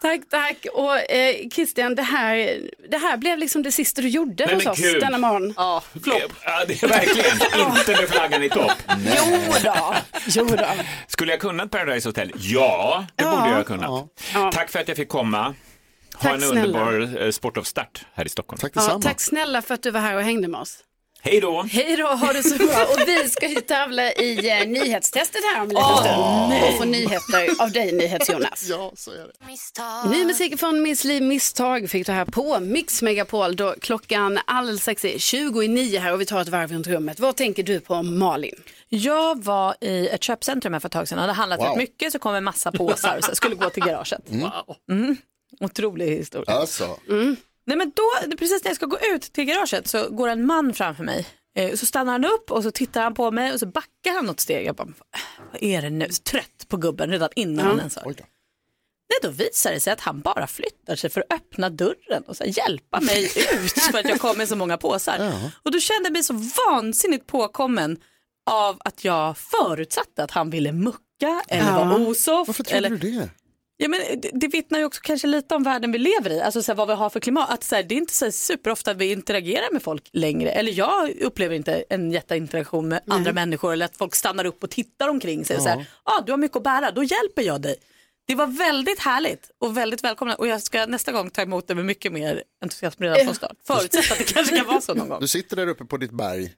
[SPEAKER 2] Tack, tack. Och eh, Christian, det här, det här blev liksom det sista du gjorde
[SPEAKER 13] Nej,
[SPEAKER 2] hos
[SPEAKER 13] men
[SPEAKER 2] oss
[SPEAKER 13] gud.
[SPEAKER 2] denna morgon. Ja,
[SPEAKER 13] Ja, det är
[SPEAKER 2] *laughs*
[SPEAKER 13] verkligen inte med flaggan i topp.
[SPEAKER 2] Jo då. Jo då.
[SPEAKER 13] Skulle jag kunnat Paradise Hotel? Ja, det borde jag ha kunnat. Tack för att jag fick komma. Ha
[SPEAKER 2] Tack
[SPEAKER 13] en
[SPEAKER 2] snälla.
[SPEAKER 13] underbar eh, sportavstart här i Stockholm. Tack
[SPEAKER 2] Ja, tack snälla för att du var här och hängde med oss.
[SPEAKER 13] Hej då!
[SPEAKER 2] Hej då, ha det så bra. Och vi ska ju tävla i eh, nyhetstestet här om en liten
[SPEAKER 13] Åh,
[SPEAKER 2] stund.
[SPEAKER 13] nej.
[SPEAKER 2] Och få nyheter av dig, NyhetsJonas.
[SPEAKER 3] *laughs* Ja, så är det.
[SPEAKER 2] Ny musik från Miss Li Misstag fick du här på Mix Megapol. Då klockan alldeles strax är 20 i nio här och vi tar ett varv runt rummet. Vad tänker du på Malin?
[SPEAKER 6] Jag var i ett köpcentrum här för ett tag sedan och hade handlat
[SPEAKER 2] Wow.
[SPEAKER 6] rätt mycket så kom en massa påsar så jag skulle gå till garaget.
[SPEAKER 3] Mm.
[SPEAKER 6] Mm. Otrolig historia.
[SPEAKER 3] Alltså.
[SPEAKER 6] Mm. Nej, men då, precis när jag ska gå ut till garaget så går en man framför mig. Eh, Så stannar han upp och så tittar han på mig och så backar han något steg. Jag bara, vad är det nu? Så trött på gubben redan innan
[SPEAKER 2] Ja.
[SPEAKER 6] han ens har. Nej, då visar det sig att han bara flyttar sig för att öppna dörren och så här hjälpa mig
[SPEAKER 5] *laughs*
[SPEAKER 6] ut för att jag kom med så många påsar. Och då kände jag mig så vansinnigt påkommen av att jag förutsatte att han ville mucka eller
[SPEAKER 3] Ja.
[SPEAKER 6] vara osoft.
[SPEAKER 3] Varför tror
[SPEAKER 6] eller...
[SPEAKER 3] du det?
[SPEAKER 6] Ja, men det, det vittnar ju också kanske lite om världen vi lever i, alltså så här, vad vi har för klimat. Att, så här, det är inte så här, superofta vi interagerar med folk längre. Eller jag upplever inte en jätteinteraktion med andra människor eller att folk stannar upp och tittar omkring sig. Och så här, ah, du har mycket att bära, då hjälper jag dig. Det var väldigt härligt och väldigt välkomna och jag ska nästa gång ta emot det med mycket mer entusiasm
[SPEAKER 3] Eh.
[SPEAKER 6] redan från start. Förutsatt att det kanske kan vara så någon gång.
[SPEAKER 3] Du sitter där uppe på ditt berg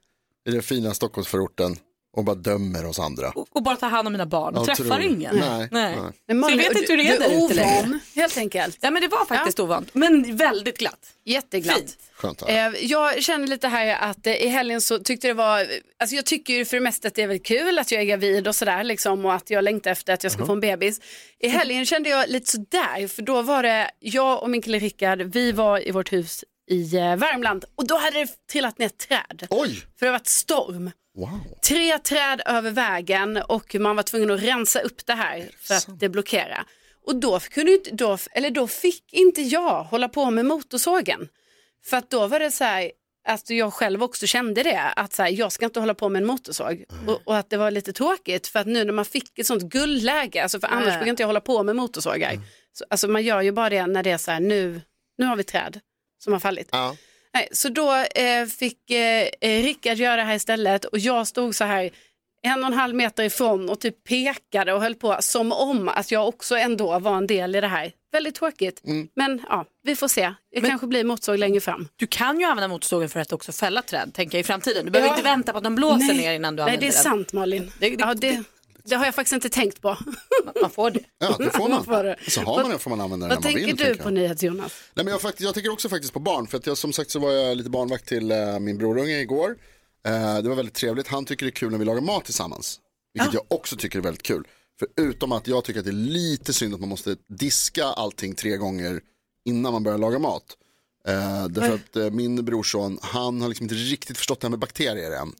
[SPEAKER 3] i den fina Stockholmsförorten och bara dömer oss andra.
[SPEAKER 6] Och bara ta hand om mina barn,
[SPEAKER 3] Ja,
[SPEAKER 6] träffar
[SPEAKER 3] tror-
[SPEAKER 6] ingen.
[SPEAKER 3] Nej, nej.
[SPEAKER 6] Så jag
[SPEAKER 2] Malin,
[SPEAKER 6] vet inte hur det är
[SPEAKER 2] du- du
[SPEAKER 6] där ute längre.
[SPEAKER 2] ovan, Helt enkelt.
[SPEAKER 6] Ja, men det var faktiskt ovant, men väldigt glatt.
[SPEAKER 2] Jätteglatt.
[SPEAKER 6] Fint.
[SPEAKER 3] Skönt att höra.
[SPEAKER 2] Eh, jag känner lite här att eh, i helgen så tyckte det var, alltså jag tycker ju för det mesta att det är väl kul att jag är gravid och sådär liksom och att jag längtar efter att jag ska få en bebis. I helgen kände jag lite sådär för då var det jag och min kille Rickard, vi var i vårt hus i eh, Värmland och då hade det trillat ner ett träd.
[SPEAKER 3] Oj!
[SPEAKER 2] För det har varit storm.
[SPEAKER 3] Wow.
[SPEAKER 2] Tre träd över vägen och man var tvungen att rensa upp det här för att det blockera. Och då, kunde ju inte, då, eller då fick inte jag hålla på med motorsågen. För att då var det så här, att jag själv också kände det, att så här, jag ska inte hålla på med en motorsåg. Och, och att det var lite tråkigt för att nu när man fick ett sånt guldläge, alltså för annars
[SPEAKER 6] Mm.
[SPEAKER 2] brukar inte jag hålla på med motorsågar. Så, alltså man gör ju bara det när det är så här, nu, nu har vi träd som har fallit. Nej, så då eh, fick eh, eh, Rickard göra det här istället och jag stod så här en och en halv meter ifrån och typ pekade och höll på som om att jag också ändå var en del i det här. Väldigt tråkigt,
[SPEAKER 3] Mm.
[SPEAKER 2] men ja, vi får se. Det kanske blir motsåg längre fram.
[SPEAKER 6] Du kan ju använda motorsågen för att också fälla träd tänker jag, i framtiden. Du behöver
[SPEAKER 2] Ja.
[SPEAKER 6] inte vänta på att de blåser
[SPEAKER 2] Nej.
[SPEAKER 6] ner innan du
[SPEAKER 2] Nej,
[SPEAKER 6] använder
[SPEAKER 2] det är
[SPEAKER 6] den.
[SPEAKER 2] sant Malin. Det, ja, det, det har jag faktiskt inte tänkt på.
[SPEAKER 6] Man får det.
[SPEAKER 3] Ja, det
[SPEAKER 2] *laughs*
[SPEAKER 3] får man.
[SPEAKER 2] får det.
[SPEAKER 3] Så har man den får man använda den
[SPEAKER 2] Vad
[SPEAKER 3] när man
[SPEAKER 2] tänker
[SPEAKER 3] vill.
[SPEAKER 2] du
[SPEAKER 3] tänker
[SPEAKER 2] på
[SPEAKER 3] jag.
[SPEAKER 2] nyhets Jonas?
[SPEAKER 3] Nej, men jag, faktiskt, jag tänker också faktiskt på barn, för att jag, som sagt så var jag lite barnvakt till eh, min brorunge igår. Eh, det var väldigt trevligt, han tycker det är kul när vi lagar mat tillsammans, vilket jag också tycker är väldigt kul. Förutom att jag tycker att det är lite synd att man måste diska allting tre gånger innan man börjar laga mat. Eh, därför
[SPEAKER 2] Oj.
[SPEAKER 3] att eh, min brorson, han har liksom inte riktigt förstått det här med bakterier än.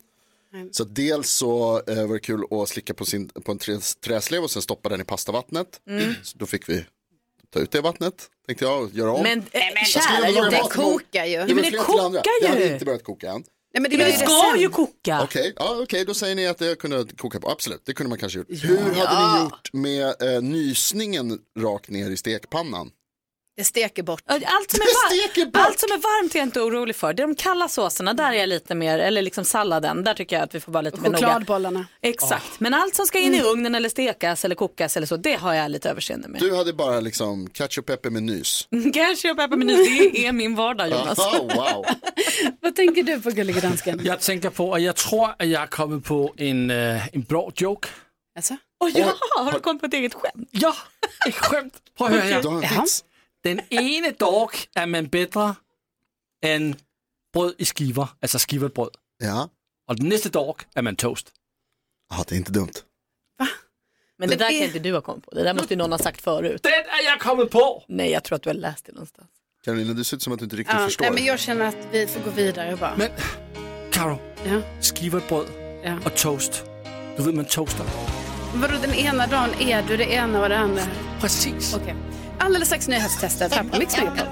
[SPEAKER 3] Så dels så eh, var det kul att slicka på, sin, på en trä, träslev och sen stoppa den i pastavattnet.
[SPEAKER 6] Mm.
[SPEAKER 3] Så då fick vi ta ut det vattnet, tänkte jag, och göra om.
[SPEAKER 6] Men, äh, men
[SPEAKER 3] Jag skulle
[SPEAKER 6] kära
[SPEAKER 3] vilja
[SPEAKER 6] Jonas.
[SPEAKER 3] laga
[SPEAKER 6] Det
[SPEAKER 3] mat imorgon.
[SPEAKER 6] kokar ju.
[SPEAKER 3] Det
[SPEAKER 6] Ja,
[SPEAKER 3] var
[SPEAKER 6] men det
[SPEAKER 3] flera till andra.
[SPEAKER 6] kokar
[SPEAKER 3] Det hade
[SPEAKER 6] ju.
[SPEAKER 3] inte börjat koka än. Eh,
[SPEAKER 2] Nej, men
[SPEAKER 6] det, det ska ju koka.
[SPEAKER 3] Okej, ja, okej, då säger ni att det kunde koka på. Absolut, det kunde man kanske gjort. Hur hade ni gjort med eh, nysningen rakt ner i stekpannan?
[SPEAKER 2] Det steker bort.
[SPEAKER 6] Allt som, är var- allt som är varmt är jag inte orolig för. Det är de kalla såserna, där är jag lite mer, eller liksom salladen, där tycker jag att vi får vara lite mer noga.
[SPEAKER 2] Chokladbollarna. Mm.
[SPEAKER 6] Exakt,
[SPEAKER 3] Ah.
[SPEAKER 6] men allt som ska in i ugnen eller stekas eller kokas eller så, det har jag lite överseende med.
[SPEAKER 3] Du hade bara liksom ketchup pepper med nys.
[SPEAKER 6] Kanske jag peppar
[SPEAKER 5] *laughs*
[SPEAKER 6] menyn, det är min vardag Jonas.
[SPEAKER 3] Aha, wow.
[SPEAKER 2] Vad tänker du på gullige dansken?
[SPEAKER 4] Jeg tænker på, og jeg tror, at jeg er kommet på en, øh, en blå joke.
[SPEAKER 2] Alltså?
[SPEAKER 6] Oj, ja, har du kommit på ett eget skämt?
[SPEAKER 4] Ja, ett skämt. Prøv at høre
[SPEAKER 6] Du har en
[SPEAKER 4] her.
[SPEAKER 6] vits.
[SPEAKER 4] Den ene dog er man bedre end brød i skiver, altså skivet brød.
[SPEAKER 3] Ja.
[SPEAKER 4] Og den næste dog er man toast.
[SPEAKER 3] Ja, det är inte dumt.
[SPEAKER 6] Men det där kan inte du ha kommit på. Det där måste ju någon ha sagt förut.
[SPEAKER 4] Det är jag kommit på!
[SPEAKER 6] Nej, jag tror att du har läst det någonstans.
[SPEAKER 3] Carolina, du ser ut som att du inte riktigt
[SPEAKER 2] Ja,
[SPEAKER 3] förstår.
[SPEAKER 2] nej, men jag känner att vi får gå vidare bara.
[SPEAKER 4] Men Caro,
[SPEAKER 2] ja.
[SPEAKER 4] skivet brød
[SPEAKER 2] ja.
[SPEAKER 4] og toast. Du ved, man toaster.
[SPEAKER 2] Vadå, den ena dagen är du det ena och det andra?
[SPEAKER 4] Precis.
[SPEAKER 2] Okej. Alldeles strax nyhetstestet här på Mix Megapol.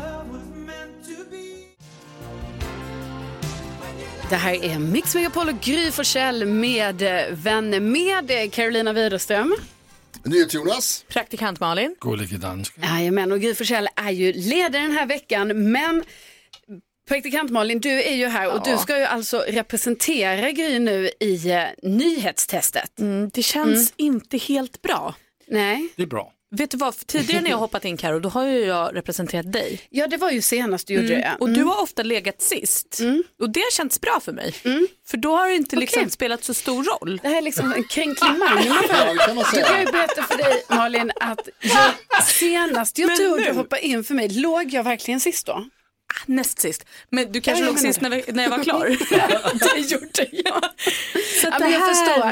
[SPEAKER 2] Det här är Mix Megapol och Gry Forssell med eh, vänner med eh, Carolina Widerström.
[SPEAKER 3] NyhetsJonas.
[SPEAKER 6] Praktikant Malin.
[SPEAKER 4] Gullige dansk.
[SPEAKER 2] Jajamän, och Gry Forssell är ju ledare den här veckan, men praktikant Malin, du är ju här och
[SPEAKER 6] Ja.
[SPEAKER 2] du ska ju alltså representera Gry nu i eh, nyhetstestet.
[SPEAKER 6] Mm,
[SPEAKER 2] Mm.
[SPEAKER 6] det känns inte helt bra.
[SPEAKER 2] Nej.
[SPEAKER 4] Det är bra.
[SPEAKER 6] Vet du vad, tidigare när jag hoppat in Karo, då har ju jag representerat dig.
[SPEAKER 2] Ja, det var ju senast du gjorde
[SPEAKER 6] Mm.
[SPEAKER 2] det. ja.
[SPEAKER 6] Och
[SPEAKER 2] Mm.
[SPEAKER 6] du har ofta legat sist. Och det har känts bra för mig. För då har det inte liksom spelat så stor roll.
[SPEAKER 2] Mm. Det här är liksom en kränklig man.
[SPEAKER 6] Ja, det kan man säga.
[SPEAKER 2] Du kan ju berätta för dig Malin att jag, senast jag
[SPEAKER 6] Men
[SPEAKER 2] tror du
[SPEAKER 6] nu- Ah,
[SPEAKER 2] hoppade in för mig, låg jag verkligen sist då?
[SPEAKER 6] Näst sist. Men du kanske
[SPEAKER 2] Ja, jag
[SPEAKER 6] låg
[SPEAKER 2] menar
[SPEAKER 6] sist
[SPEAKER 2] det.
[SPEAKER 6] när, vi, när jag
[SPEAKER 2] *laughs*
[SPEAKER 6] var klar. det gjorde jag. Så
[SPEAKER 2] Ja,
[SPEAKER 6] att
[SPEAKER 2] men jag förstår.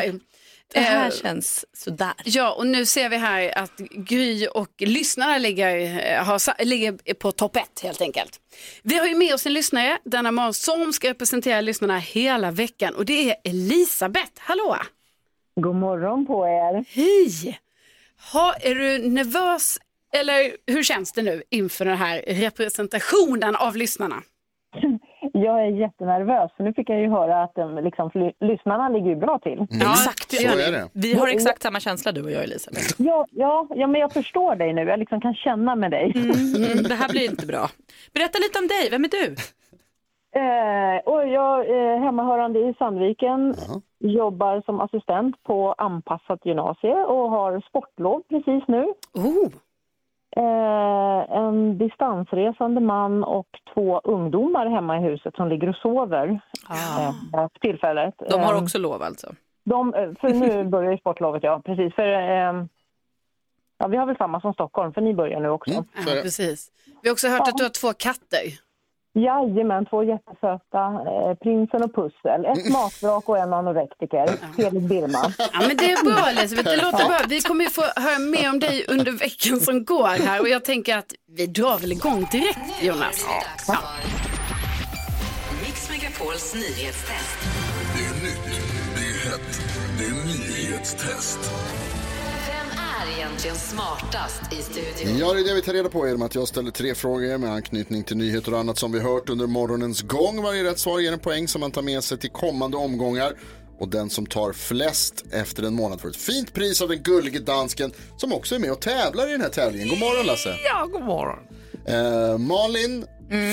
[SPEAKER 6] Det här
[SPEAKER 2] Eh,
[SPEAKER 6] känns sådär.
[SPEAKER 2] Ja, och nu ser vi här att Gry och lyssnarna ligger, eh, har, sa- ligger på topp ett helt enkelt. Vi har ju med oss en lyssnare denna morgon som ska representera lyssnarna hela veckan och det är Elisabeth. Hallå!
[SPEAKER 14] God morgon på er.
[SPEAKER 2] Hej! Ha, är du nervös eller hur känns det nu inför den här representationen av lyssnarna?
[SPEAKER 14] Jag är jättenervös, för nu fick jag ju höra att um, liksom, fly- lyssnarna ligger ju bra till.
[SPEAKER 6] Mm. exakt.
[SPEAKER 14] så är det.
[SPEAKER 6] Vi
[SPEAKER 2] Mm.
[SPEAKER 6] har exakt samma känsla du och jag Elisabeth.
[SPEAKER 14] Ja, ja, ja, men jag förstår dig nu. Jag liksom kan känna med dig.
[SPEAKER 6] Mm, det här blir inte bra. Berätta lite om dig, vem är du?
[SPEAKER 14] *laughs* Eh, och jag är eh, hemmahörande i Sandviken, jobbar som assistent på anpassat gymnasie och har sportlov precis nu. Eh, en distansresande man och två ungdomar hemma i huset som ligger och sover eh, för tillfället.
[SPEAKER 6] De har
[SPEAKER 14] Eh,
[SPEAKER 6] också lov alltså.
[SPEAKER 14] De, eh, för
[SPEAKER 2] *laughs*
[SPEAKER 14] nu börjar ju sportlovet, ja. Precis. För, ehm, ja, vi har väl samma som Stockholm, för ni börjar nu också.
[SPEAKER 2] Ja, precis. Vi har också hört att du har två katter.
[SPEAKER 14] Jajamän, två jättesöta. Eh, prinsen och Pussel. Ett matbrak och en anorektiker. Felix Birman.
[SPEAKER 2] Ja, men det är bra Elisabeth, det låter bra. Vi kommer ju få höra mer om dig under veckan som går här och jag tänker att vi drar väl igång direkt Jonas. Ja.
[SPEAKER 17] Mix Megapols nyhetstest.
[SPEAKER 18] Det är nytt, det är hett, det är nyhetstest.
[SPEAKER 17] Vem är egentligen smartast i studion?
[SPEAKER 3] Ja, det är det vi tar reda på genom att jag ställer tre frågor med anknytning till nyheter och annat som vi hört under morgonens gång. Varje rätt svar ger en poäng som man tar med sig till kommande omgångar. Och den som tar flest efter en månad får ett fint pris av den gullige dansken som också är med och tävlar i den här tävlingen. God morgon Lasse!
[SPEAKER 4] Ja, god morgon!
[SPEAKER 3] Eh, Malin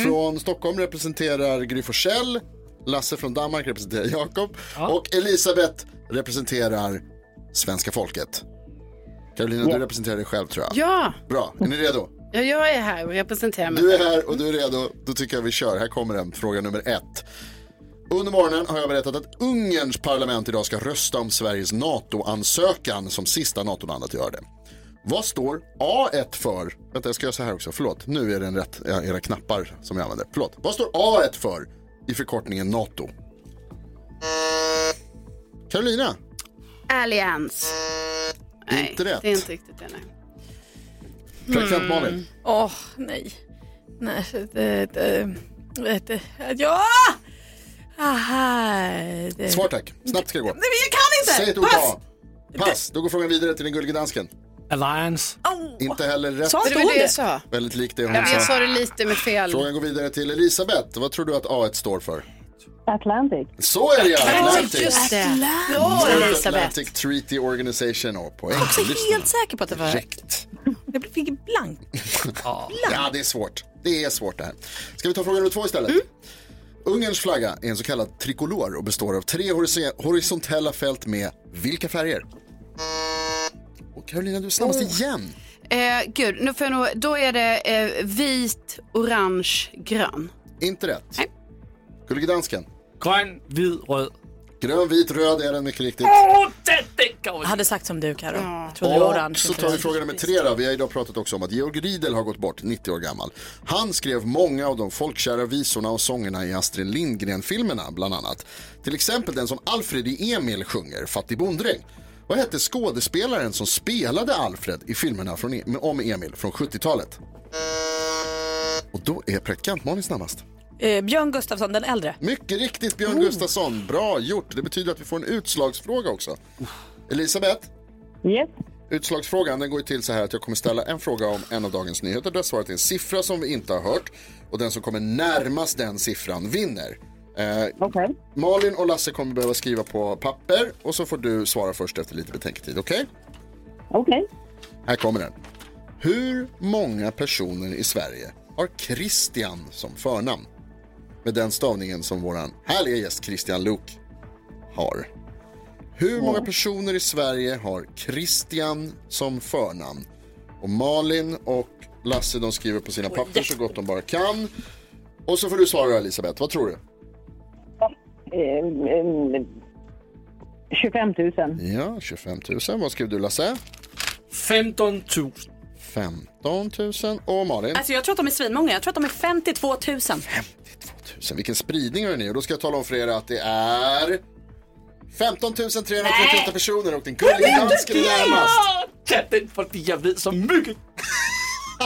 [SPEAKER 3] från Stockholm representerar Gry Forssell. Lasse från Danmark representerar Jakob. Och Elisabeth representerar svenska folket. Carolina, du representerar dig själv tror jag.
[SPEAKER 2] Ja.
[SPEAKER 3] Bra, är ni redo?
[SPEAKER 2] ja, jag är här och representerar mig.
[SPEAKER 3] Du är här och du är redo. Då tycker jag vi kör. Här kommer den, fråga nummer ett. Under morgonen har jag berättat att Ungerns parlament idag ska rösta om Sveriges NATO-ansökan som sista NATO-land att göra det. Vad står A1 för? Vänta, jag ska göra så här också. Förlåt, nu är det en rätt, ja, era knappar som jag använder. Förlåt. Vad står A1 för i förkortningen NATO? Carolina,
[SPEAKER 2] Allians.
[SPEAKER 3] inte rätt.
[SPEAKER 2] Det är inte riktigt det nej. Mm.
[SPEAKER 3] Praktikant Mm. Malin.
[SPEAKER 6] Åh, nej. Nej, det, det, det, det, ja! Aha, det.
[SPEAKER 3] Svar tack. Snabbt ska det gå.
[SPEAKER 6] Nej, men jag kan inte!
[SPEAKER 3] Säg ett ord
[SPEAKER 6] Pass!
[SPEAKER 3] A. Pass. Då går frågan vidare till den gullige dansken.
[SPEAKER 4] Alliance.
[SPEAKER 3] Inte heller rätt.
[SPEAKER 2] Sa inte Det var hon det jag det? sa.
[SPEAKER 3] Väldigt likt det hon
[SPEAKER 2] Ja, jag
[SPEAKER 3] sa.
[SPEAKER 2] sa det lite med fel.
[SPEAKER 3] Frågan går vidare till Elisabeth. Vad tror du att A1 står för?
[SPEAKER 14] Atlantic.
[SPEAKER 3] Så är det ja! Atlantic.
[SPEAKER 14] just det.
[SPEAKER 6] Bra
[SPEAKER 3] North
[SPEAKER 6] Elisabeth.
[SPEAKER 3] Atlantic Treaty Organization och poäng.
[SPEAKER 6] Jag är också
[SPEAKER 3] Lyssna.
[SPEAKER 6] helt säker på att det var
[SPEAKER 3] rätt.
[SPEAKER 6] Jag blev- fick blank.
[SPEAKER 3] Ja, det är svårt. Det är svårt det här. Ska vi ta fråga nummer två istället? Ungerns flagga är en så kallad trikolor och består av tre horis- horisontella fält med vilka färger? Och Carolina, du är snabbast
[SPEAKER 2] Oh.
[SPEAKER 3] igen.
[SPEAKER 2] Eh, gud, nu får jag nog, då är det eh, vit, orange, grön.
[SPEAKER 3] Inte rätt. Gullige dansken.
[SPEAKER 4] Grön, vit, röd.
[SPEAKER 3] Grön, vit, röd är den mycket riktigt.
[SPEAKER 4] Åh, det, det
[SPEAKER 6] Jag hade sagt som du Karo. Jag trodde det var orange.
[SPEAKER 3] Och så tar vi fråga nummer tre då. Vi har idag pratat också om att Georg Riedel har gått bort, 90 år gammal. Han skrev många av de folkkära visorna och sångerna i Astrid Lindgren-filmerna bland annat. Till exempel den som Alfred i Emil sjunger, Fattig bonddräng. Vad hette skådespelaren som spelade Alfred i filmerna från e om Emil från 70-talet? Och då är praktikant-Malin snabbast.
[SPEAKER 6] Eh, Björn Gustafsson den äldre.
[SPEAKER 3] Mycket riktigt Björn Gustafsson, bra gjort. Det betyder att vi får en utslagsfråga också. Elisabeth?
[SPEAKER 14] Yes.
[SPEAKER 3] Utslagsfrågan den går ju till så här att jag kommer ställa en fråga om en av dagens nyheter där svaret är en siffra som vi inte har hört och den som kommer närmast den siffran vinner. Eh, Malin och Lasse kommer behöva skriva på papper och så får du svara först efter lite betänketid, okej?
[SPEAKER 14] Okej.
[SPEAKER 3] Här kommer den. Hur många personer i Sverige har Christian som förnamn? Med den stavningen som våran härliga gäst Christian Luuk har. Hur många personer i Sverige har Christian som förnamn? Och Malin och Lasse de skriver på sina papper så gott de bara kan. Och så får du svara Elisabeth, vad tror du?
[SPEAKER 14] Ehm, ehm, 25 000.
[SPEAKER 3] Ja, 25 000. Vad skrev du Lasse?
[SPEAKER 4] 15 000.
[SPEAKER 3] 15 000. Och Malin?
[SPEAKER 6] Alltså jag tror att de är svinmånga. Jag tror att de är 52 000.
[SPEAKER 3] 000. Vilken spridning hörni. Och då ska jag tala om för er att det är 15 338 personer och den gullige dansken är närmast.
[SPEAKER 4] Katten, för att jag vet så mycket.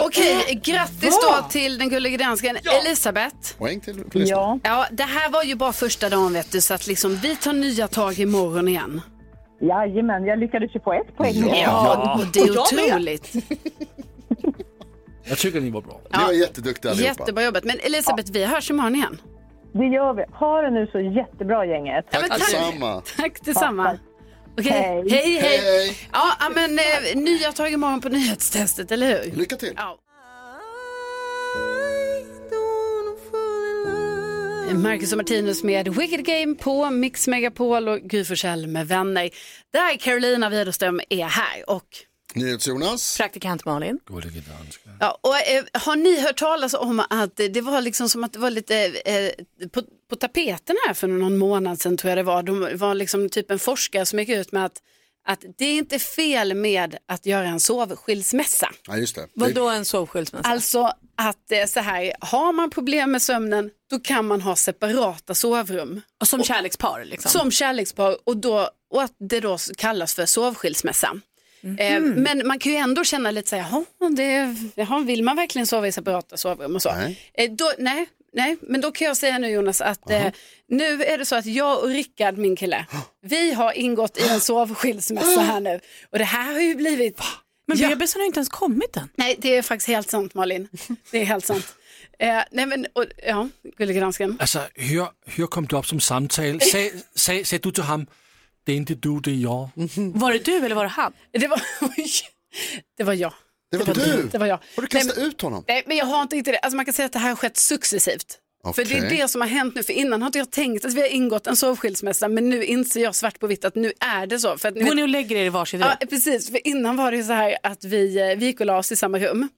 [SPEAKER 2] Okej, grattis då till den gullige dansken Elisabeth.
[SPEAKER 3] Poäng till
[SPEAKER 2] Ja. ja, det här var ju bara första dagen vet du, så att liksom, vi tar nya tag imorgon igen.
[SPEAKER 14] Jajamän, jag lyckades ju få ett poäng.
[SPEAKER 2] Ja,
[SPEAKER 3] Ja.
[SPEAKER 2] och det är
[SPEAKER 3] Och jag med.
[SPEAKER 2] otroligt.
[SPEAKER 4] Jag tycker ni var bra.
[SPEAKER 3] Ni var jätteduktiga allihopa.
[SPEAKER 2] Jättebra jobbat. Men Elisabeth, vi hörs imorgon igen.
[SPEAKER 14] Det gör vi. Ha det nu så jättebra gänget.
[SPEAKER 2] Ja, men Tack tack. detsamma. Tack detsamma. Okej,
[SPEAKER 14] Hej.
[SPEAKER 2] hej, hej.
[SPEAKER 14] Hej.
[SPEAKER 2] Ja, ja, men eh, nya tag imorgon på nyhetstestet, eller hur?
[SPEAKER 3] Lycka till.
[SPEAKER 2] Ja. Marcus och Martinus med Wicked Game på Mix Megapol och Gry Forssell med vänner. Där Carolina Widerström är här och
[SPEAKER 3] NyhetsJonas.
[SPEAKER 6] Praktikant Malin.
[SPEAKER 4] Gullige dansken.
[SPEAKER 2] Ja, och, eh, har ni hört talas om att eh, det var liksom som att det var lite eh, på, på tapeten här för någon månad sedan tror jag det var. De var liksom typ en forskare som gick ut med att, att det är inte fel med att göra en sovskilsmässa.
[SPEAKER 3] Ja, just det.
[SPEAKER 6] Vadå en sovskilsmässa?
[SPEAKER 2] Alltså att eh, så här, har man problem med sömnen då kan man ha separata sovrum.
[SPEAKER 6] Och som kärlekspar liksom?
[SPEAKER 2] Som kärlekspar och, då, och att det då kallas för sovskilsmässa.
[SPEAKER 6] Mm.
[SPEAKER 2] Eh, Men man kan ju ändå känna lite så här, "Jaha, det, jaha, vill man verkligen sova i separata sovrum och så?
[SPEAKER 3] Nej.
[SPEAKER 2] Eh, då, nej, nej, men då kan jag säga nu Jonas att eh, nu är det så att jag och Rickard,
[SPEAKER 3] *gasps*
[SPEAKER 2] min kille, vi har ingått i en sovskilsmässa här nu. Och det här har ju blivit...
[SPEAKER 6] Men bebisen har inte ens kommit än.
[SPEAKER 2] Nej, det är faktiskt helt sant Malin. Det är helt sant. Eh, nej men, och, ja, gullige dansken.
[SPEAKER 4] Altså, hør, hør kom det op som samtale. Sag, sag, sagde du til ham, det er ikke du, det er jeg.
[SPEAKER 3] Mhm.
[SPEAKER 6] Var det du eller var det han?
[SPEAKER 2] Det var, *laughs* det var jag.
[SPEAKER 3] Det var du.
[SPEAKER 2] Det var jag.
[SPEAKER 3] Har du kastat ut honom?
[SPEAKER 2] Nej, men jag har inte riktigt det. Alltså man kan säga att det här har skett successivt. För det är
[SPEAKER 3] Okej.
[SPEAKER 2] det som har hänt nu, för innan har inte jag tänkt att vi har ingått en sovskilsmässa, men nu inser jag svart på vitt att nu är det så. För att,
[SPEAKER 6] Går ni och lägger er i varsitt rum?
[SPEAKER 2] Ja, precis. För innan var det ju så här att vi, eh, vi gick och la oss i samma rum.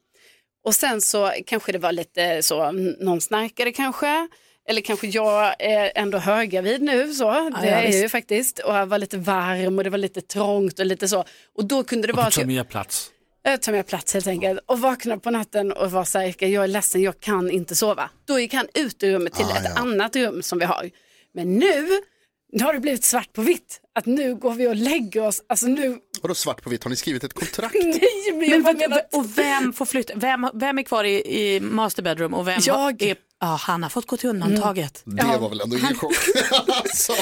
[SPEAKER 2] Och sen så kanske det var lite så, n- någon snarkade kanske. Eller kanske jag är ändå höggravid nu så. det
[SPEAKER 6] ja,
[SPEAKER 2] är jag ju
[SPEAKER 6] visst.
[SPEAKER 2] faktiskt. Och jag var lite varm och det var lite trångt och lite så. Och då kunde det
[SPEAKER 4] Og
[SPEAKER 2] vara
[SPEAKER 4] du
[SPEAKER 2] att
[SPEAKER 4] tager
[SPEAKER 2] jag,
[SPEAKER 4] mere plads.
[SPEAKER 2] jag tar mer plats helt enkelt. Och vaknade på natten och var så här, "Erika, jag är ledsen, jag kan inte sova. Då gick han ut ur rummet till
[SPEAKER 3] Ah,
[SPEAKER 2] ett
[SPEAKER 3] ja.
[SPEAKER 2] annat rum som vi har. Men nu, nu har det blivit svart på vitt. Att nu går vi och lägger oss, alltså nu
[SPEAKER 3] Vadå svart på vitt? Har ni skrivit ett kontrakt?
[SPEAKER 2] *laughs* Nej, men
[SPEAKER 6] Men
[SPEAKER 2] jag bara
[SPEAKER 6] vad,
[SPEAKER 2] menar...
[SPEAKER 6] och vem får flytta? Vem, vem är kvar i, i master bedroom och vem har-
[SPEAKER 2] Jag. Mm.
[SPEAKER 6] är... Ja, han har fått gå till undantaget.
[SPEAKER 3] Det var väl ändå ingen chock. alltså.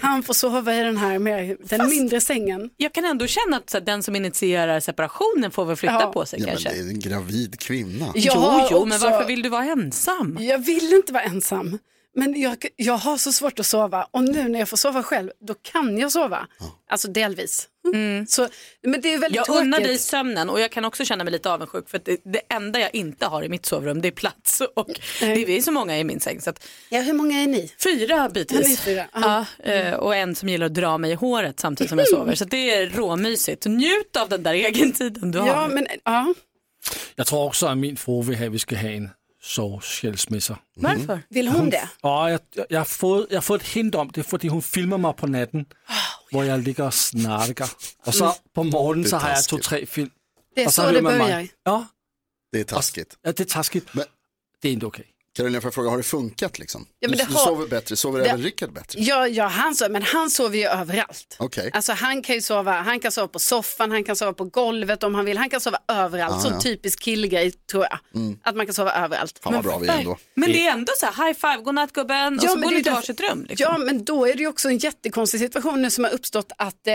[SPEAKER 2] Han får sova i den här med den mindre sängen.
[SPEAKER 6] Jag kan ändå känna att så här, den som initierar separationen får väl flytta
[SPEAKER 2] Ja.
[SPEAKER 6] på sig
[SPEAKER 3] Ja, men det
[SPEAKER 6] kanske.
[SPEAKER 3] är en gravid kvinna.
[SPEAKER 2] Jag
[SPEAKER 6] jo,
[SPEAKER 2] har
[SPEAKER 6] jo, men
[SPEAKER 2] också-
[SPEAKER 6] varför vill du vara ensam?
[SPEAKER 2] Jag vill inte vara ensam, men jag, jag har så svårt att sova och nu när jag får sova själv, då kan jag sova. Alltså delvis. Så, men det är väldigt
[SPEAKER 6] Mm. Jag
[SPEAKER 2] tråkigt.
[SPEAKER 6] unnar dig sömnen och jag kan också känna mig lite avundsjuk för att det, det enda jag inte har i mitt sovrum det är plats *laughs* och det är vi så många i min säng. Så att,
[SPEAKER 2] Ja, hur många är ni?
[SPEAKER 6] fyra bitvis.
[SPEAKER 2] Ja, Mm. ni är fyra,
[SPEAKER 6] Ja, eh, och en som gillar att dra mig i håret samtidigt som jag sover. Så det är råmysigt. Njut av den där egentiden du har.
[SPEAKER 2] Ja, men, ja.
[SPEAKER 4] Jeg tror også, at min fru vil have, at vi skal have en Mhm. så skilsmässa.
[SPEAKER 2] Varför? Mm. Vill hon det?
[SPEAKER 4] Ja, jag, jag, jag, har fået, jag har fået ett hint om det, för hon filmar mig på natten, var jag ligger och snarkar. Och så
[SPEAKER 2] Mm.
[SPEAKER 4] på morgonen
[SPEAKER 3] Det är
[SPEAKER 4] så har jag
[SPEAKER 3] taskigt.
[SPEAKER 4] två, tre film.
[SPEAKER 2] Det är
[SPEAKER 4] och
[SPEAKER 2] så
[SPEAKER 4] hör
[SPEAKER 2] det
[SPEAKER 4] man mig.
[SPEAKER 2] börjar.
[SPEAKER 4] Ja,
[SPEAKER 3] Det är taskigt.
[SPEAKER 4] ja, det är taskigt. det är inte okej.
[SPEAKER 3] Carolina, får jag fråga, har det funkat liksom?
[SPEAKER 2] Ja, men
[SPEAKER 3] du,
[SPEAKER 2] det
[SPEAKER 3] du
[SPEAKER 2] har-
[SPEAKER 3] sover bättre, sover
[SPEAKER 2] det-
[SPEAKER 3] även Rickard bättre?
[SPEAKER 2] Ja, ja han, so- men han sover ju överallt.
[SPEAKER 3] Okej.
[SPEAKER 2] Alltså han kan ju sova, han kan sova på soffan, han kan sova på golvet om han vill, han kan sova överallt.
[SPEAKER 3] Ah,
[SPEAKER 2] Sån
[SPEAKER 3] ja.
[SPEAKER 2] typisk killgrej tror jag.
[SPEAKER 3] Mm.
[SPEAKER 2] Att man kan sova överallt.
[SPEAKER 3] Fan vad bra vi är ändå.
[SPEAKER 6] Men det är ändå så här, high five, godnatt gubben, och så går
[SPEAKER 2] det är
[SPEAKER 6] ni till
[SPEAKER 2] därför-
[SPEAKER 6] varsitt rum. liksom.
[SPEAKER 2] Ja, men då är det ju också en jättekonstig situation nu som har uppstått att eh,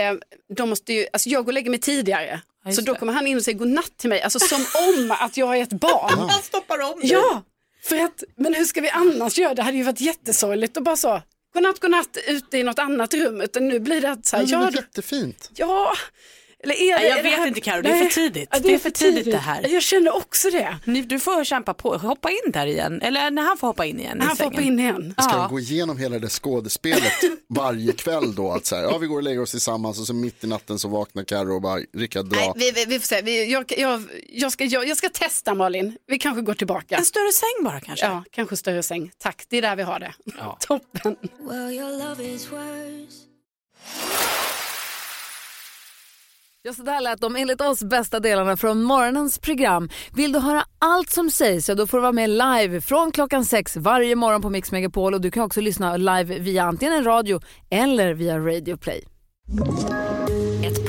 [SPEAKER 2] de måste ju, alltså jag går och lägger mig tidigare. så då kommer han in och säger godnatt till mig, alltså som om att jag är ett
[SPEAKER 3] Ah.
[SPEAKER 2] barn.
[SPEAKER 6] Han stoppar om dig.
[SPEAKER 2] ja, för att, men hur ska vi annars göra? Det hade ju varit jättesorgligt och bara så, godnatt, godnatt ute i något annat rum. Utan nu blir det att så här,
[SPEAKER 3] Men det är
[SPEAKER 2] ja,
[SPEAKER 3] väl jättefint.
[SPEAKER 2] ja. Eller är det,
[SPEAKER 6] Nej, jag
[SPEAKER 2] är det
[SPEAKER 6] vet
[SPEAKER 2] här-
[SPEAKER 6] inte, Karo, det är
[SPEAKER 2] Nej,
[SPEAKER 6] för tidigt.
[SPEAKER 2] ja,
[SPEAKER 6] det, är för tidigt, det här.
[SPEAKER 2] Jag känner också det.
[SPEAKER 6] Ni, du får kämpa på, hoppa in där igen. Eller när han får hoppa in igen. i
[SPEAKER 2] Han får hoppa
[SPEAKER 6] sängen.
[SPEAKER 2] in igen.
[SPEAKER 3] Ska
[SPEAKER 6] Ja.
[SPEAKER 3] de gå igenom hela det där skådespelet varje kväll då? Att så här, ja, vi går och lägger oss tillsammans och så mitt i natten så vaknar Carro och bara, Rickard dra.
[SPEAKER 2] Nej, vi, vi, vi får se. Vi, jag, jag, jag, ska, jag, jag ska testa Malin. Vi kanske går tillbaka. En
[SPEAKER 6] större säng bara kanske?
[SPEAKER 2] Ja, kanske större säng. Tack, det är där vi har det.
[SPEAKER 4] Ja.
[SPEAKER 2] *laughs* Toppen.
[SPEAKER 1] Ja, så där lät de enligt oss bästa delarna från morgonens program. Vill du höra allt som sägs så då får du vara med live från klockan sex varje morgon på Mix Megapol och du kan också lyssna live via antingen en radio eller via Radio Play.
[SPEAKER 17] Ett